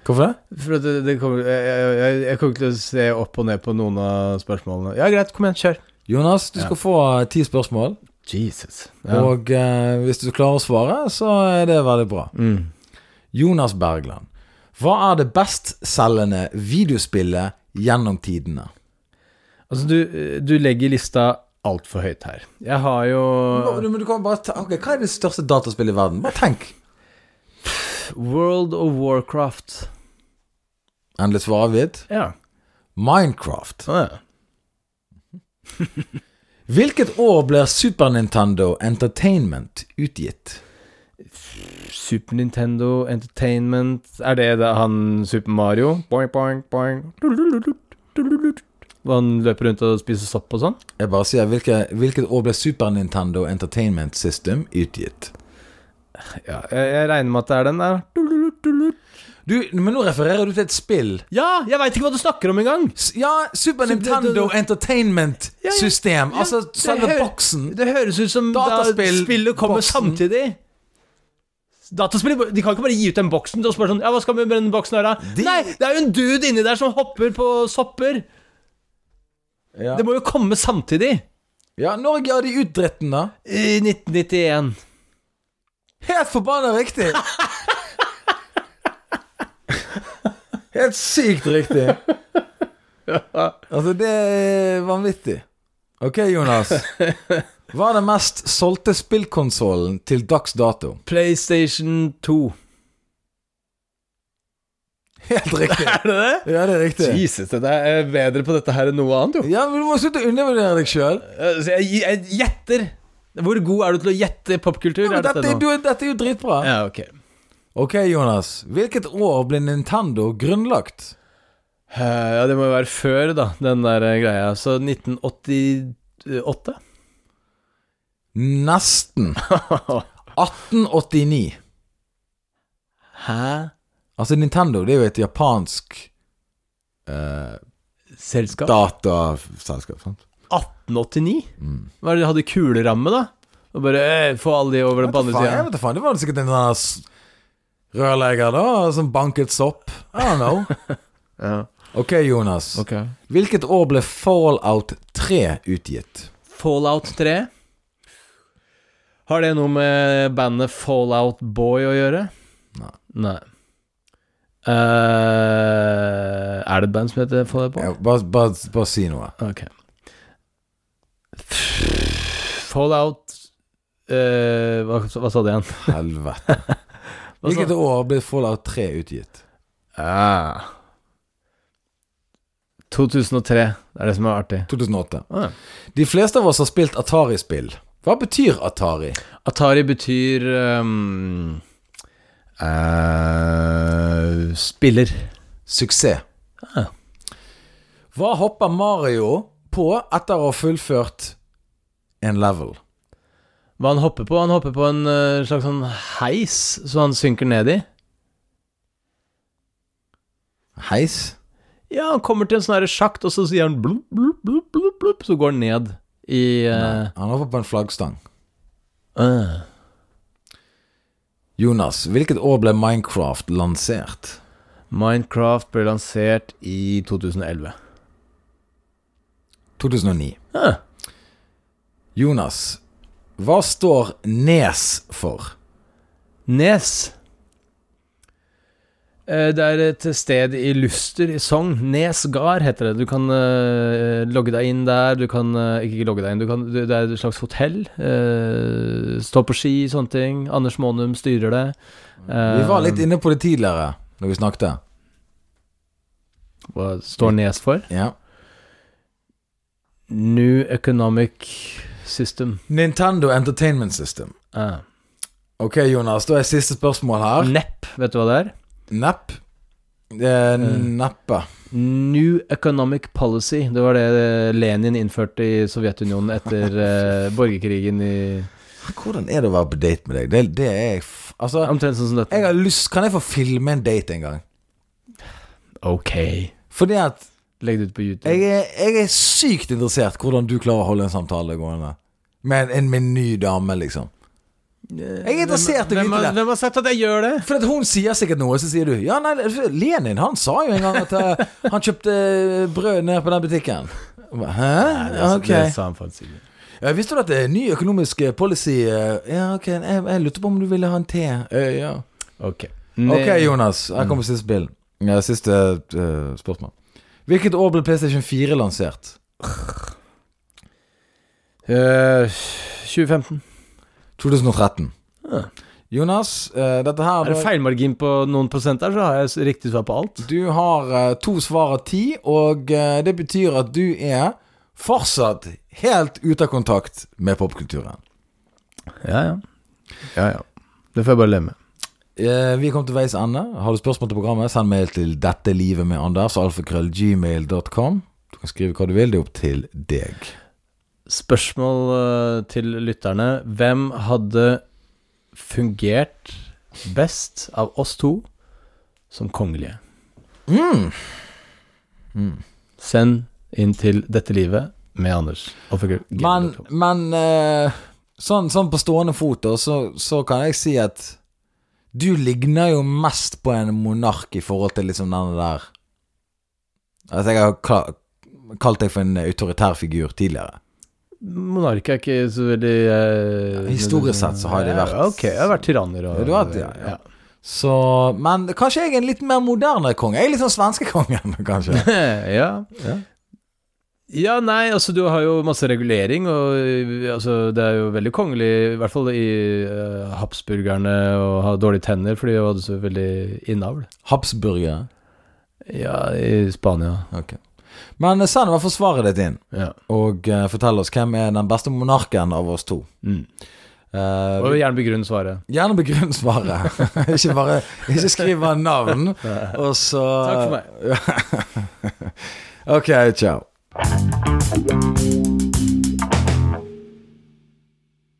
Speaker 2: Hvorfor det?
Speaker 3: For at det, det kommer, jeg, jeg, jeg- jeg kommer ikke til å se opp og ned på noen av spørsmålene. Ja, greit, kom igjen, kjør.
Speaker 2: Jonas, du skal få eh, ti spørsmål,
Speaker 3: Jesus. Ja.
Speaker 2: og eh, hvis du klarer å svare, så er det veldig bra.
Speaker 3: Mm.
Speaker 2: Jonas Bergland, hva er det bestselgende videospillet gjennom tidene?
Speaker 3: Altså, du, du legger lista altfor høyt her. Jeg har jo
Speaker 2: Men du kan bare ta, ok, Hva er det største dataspillet i verden? Bare tenk.
Speaker 3: World of Warcraft.
Speaker 2: Endelig svar avgitt.
Speaker 3: Ja.
Speaker 2: Minecraft.
Speaker 3: Sånn, ja.
Speaker 2: Hvilket år blir Super Nintendo Entertainment utgitt?
Speaker 3: Super Nintendo Entertainment Er det da han Super Mario? Boing, boing, boing. Hvor han løper rundt og spiser sopp og sånn?
Speaker 2: Jeg bare sier hvilke, Hvilket år ble Super Nintendo Entertainment System utgitt?
Speaker 3: Ja, jeg, jeg regner med at det er den der.
Speaker 2: Du, men nå refererer du til et spill.
Speaker 3: Ja, jeg veit ikke hva du snakker om engang!
Speaker 2: S ja, Super Nintendo Entertainment
Speaker 3: Ja, ja.
Speaker 2: System.
Speaker 3: Ja,
Speaker 2: Altså
Speaker 3: det
Speaker 2: selve
Speaker 3: hø-
Speaker 2: boksen.
Speaker 3: Det høres ut som da
Speaker 2: Dataspill-
Speaker 3: spillet kommer
Speaker 2: boksen.
Speaker 3: samtidig. Dataspill, De kan ikke bare gi ut den boksen og spørre sånn Ja, hva skal vi med den boksen her, da?
Speaker 2: De-
Speaker 3: Nei, det er jo en dude inni der som hopper på sopper!
Speaker 2: Ja.
Speaker 3: Det må jo komme samtidig!
Speaker 2: ja, når ga de ut dritten, da?
Speaker 3: I 1991.
Speaker 2: Helt forbanna riktig! Helt sykt riktig. Altså, det er vanvittig. Ok, Jonas. Hva er den mest solgte spillkonsollen til dags dato?
Speaker 3: PlayStation 2.
Speaker 2: Helt riktig.
Speaker 3: Er det det?
Speaker 2: Ja, det er riktig.
Speaker 3: Jesus, dette er bedre på dette her enn noe annet, jo.
Speaker 2: Ja, men Du må slutte å undervurdere deg sjøl.
Speaker 3: Eh, Så jeg, jeg gjetter. Hvor god er du til å gjette popkultur? er
Speaker 2: Dette,
Speaker 3: dette
Speaker 2: er-
Speaker 3: nå?
Speaker 2: du er- dette er jo dritbra.
Speaker 3: Ja, ok.
Speaker 2: Ok, Jonas. Hvilket år ble Nintendo grunnlagt?
Speaker 3: Eh, Ja, det må jo være før, da, den der eh, greia. Så 1988?
Speaker 2: Nesten. 1889.
Speaker 3: Hæ?
Speaker 2: Altså, Nintendo det er jo et japansk eh,
Speaker 3: Selskap?
Speaker 2: dataselskap, sant?
Speaker 3: 1889? Hva er det de hadde kuleramme, da? Og bare eh, få alle de over den på
Speaker 2: Vet du
Speaker 3: andre
Speaker 2: faen, jeg
Speaker 3: sida.
Speaker 2: vet da faen, det var sikkert en sånn her s- rørlegger da, som banket sopp. I don't know.
Speaker 3: Ja.
Speaker 2: Ok, Jonas.
Speaker 3: ok.
Speaker 2: Hvilket år ble Fallout 3 utgitt?
Speaker 3: Fallout 3. Har det noe med bandet Fallout Boy å gjøre?
Speaker 2: Nei.
Speaker 3: Nei. Eh, er det et band som heter Fallout Boy?
Speaker 2: Ja, bare, bare, bare si noe.
Speaker 3: Ok. Fallout eh, hva, hva sa du igjen?
Speaker 2: Helvete.
Speaker 3: Hva sa-
Speaker 2: Hvilket år ble Fallout 3 utgitt?
Speaker 3: Ah. 2003 er det som er artig.
Speaker 2: 2008.
Speaker 3: Ah.
Speaker 2: De fleste av oss har spilt Atari-spill. Hva betyr Atari?
Speaker 3: Atari betyr ehm, eh, Spiller.
Speaker 2: Suksess.
Speaker 3: Ah.
Speaker 2: Hva hopper Mario på etter å ha fullført en level?
Speaker 3: Hva han hopper på? Han hopper på en eh, slags sånn heis så han synker ned i.
Speaker 2: Heis?
Speaker 3: Ja, han kommer til en sånn her sjakt, og så sier han blup, blup, blup, blup, blup, så går han ned i eh,
Speaker 2: Han hopper på en flaggstang.
Speaker 3: eh.
Speaker 2: Jonas, hvilket år ble Minecraft lansert?
Speaker 3: Minecraft ble lansert i 2011.
Speaker 2: 2009.
Speaker 3: Ah,
Speaker 2: Jonas, hva står Nes for?
Speaker 3: Nes. Eh, Det er et sted i Luster i Sogn. Nesgard heter det. Du kan eh, logge deg inn der. Du kan eh, ikke ikke logge deg inn, du kan, du, det er et slags hotell. Eh, stå på ski, sånne ting. Anders Monum styrer det.
Speaker 2: Vi var litt
Speaker 3: inne
Speaker 2: inne på det tidligere når vi snakket.
Speaker 3: Eh, Hva står Nes for?
Speaker 2: Ja.
Speaker 3: New Economic System.
Speaker 2: Nintendo Entertainment System.
Speaker 3: Ah.
Speaker 2: Ok, Jonas, da er siste spørsmål her.
Speaker 3: Nepp, vet du hva det er?
Speaker 2: Nepp. Eh, neppe.
Speaker 3: New Economic Policy. Det var det Lenin innførte i Sovjetunionen etter eh, borgerkrigen i
Speaker 2: Hvordan er det å være på date med deg? Det, det er jeg f... Altså,
Speaker 3: Omtrent sånn som dette.
Speaker 2: jeg har lyst Kan jeg få filme en date en gang?
Speaker 3: Ok.
Speaker 2: Fordi at
Speaker 3: Legg det ut på YouTube.
Speaker 2: jeg er, jeg er sykt interessert hvordan du klarer å holde en samtale gående. Med en, en med en ny dame, liksom. Jeg er interessert i å
Speaker 3: Eh, hvem,
Speaker 2: vite
Speaker 3: har-
Speaker 2: det.
Speaker 3: hvem har sagt at jeg gjør det?
Speaker 2: For at hun sier sikkert noe, så sier du Ja, nei, Lenin han sa jo en gang at eh, han kjøpte brød nede på den butikken. Jeg ba, Hæ? Ok.
Speaker 3: Det sa han faktisk ikke.
Speaker 2: Ja, visste du at det er ny økonomisk eh, policy eh, Ja, ok, jeg, jeg lurte på om du ville ha en te. Eh, ja.
Speaker 3: Ok.
Speaker 2: Ok,
Speaker 3: Ne-
Speaker 2: Jonas. Her kommer siste spill. Ja, siste eh, spørsmål. Hvilket år ble PlayStation 4 lansert?
Speaker 3: Eh, 2015.
Speaker 2: 2013.
Speaker 3: Ja.
Speaker 2: Jonas, eh, dette her
Speaker 3: Ah. Er det feilmargin på noen prosent der, så har jeg s- riktig svar på alt.
Speaker 2: Du har eh, to svar av ti, og eh, det betyr at du er fortsatt helt ute av kontakt med popkulturen.
Speaker 3: Ja, ja. ja, ja. Det får jeg bare leve med.
Speaker 2: Eh, vi kom til veis ende. Har du spørsmål til programmet, send mail til dette livet med Anders, alfakrøllgmail.com. Du kan skrive hva du vil, det er opp til deg.
Speaker 3: Spørsmål eh, til lytterne. Hvem hadde fungert best av oss to som kongelige?
Speaker 2: Hmm.
Speaker 3: Send inn til Dette livet med Anders.
Speaker 2: Men, men eh, sånn, sånn på stående fot, da, så, så kan jeg si at du ligner jo mest på en monark i forhold til liksom denne der Altså, jeg har ka- kalt deg for en autoritær figur tidligere.
Speaker 3: Monark er ikke så veldig eh,
Speaker 2: historisk sett så har de vært-
Speaker 3: Ja, Ok, jeg har vært tyranner og
Speaker 2: Ja, du har vært- ja, ja. Så Men kanskje jeg er en litt mer moderne konge. Jeg er litt sånn svenskekongen, kanskje.
Speaker 3: ja.
Speaker 2: Ja.
Speaker 3: Ja, nei, altså du har jo masse regulering, og eh, altså, det er jo veldig kongelig, i hvert fall i eh, Habsburgerne, å ha dårlige tenner, fordi de hadde så veldig innavl.
Speaker 2: Habsburgere.
Speaker 3: Ja, i Spania.
Speaker 2: Ok. Men eh, send i hvert fall svaret ditt inn,
Speaker 3: Ja.
Speaker 2: og eh, fortell oss hvem er den beste monarken av oss to.
Speaker 3: Mm.
Speaker 2: Eh,
Speaker 3: Og gjerne begrunn svaret.
Speaker 2: Gjerne begrunn svaret. ikke bare Ikke skriv bare navn, og så
Speaker 3: Takk for
Speaker 2: meg. ok, ciao.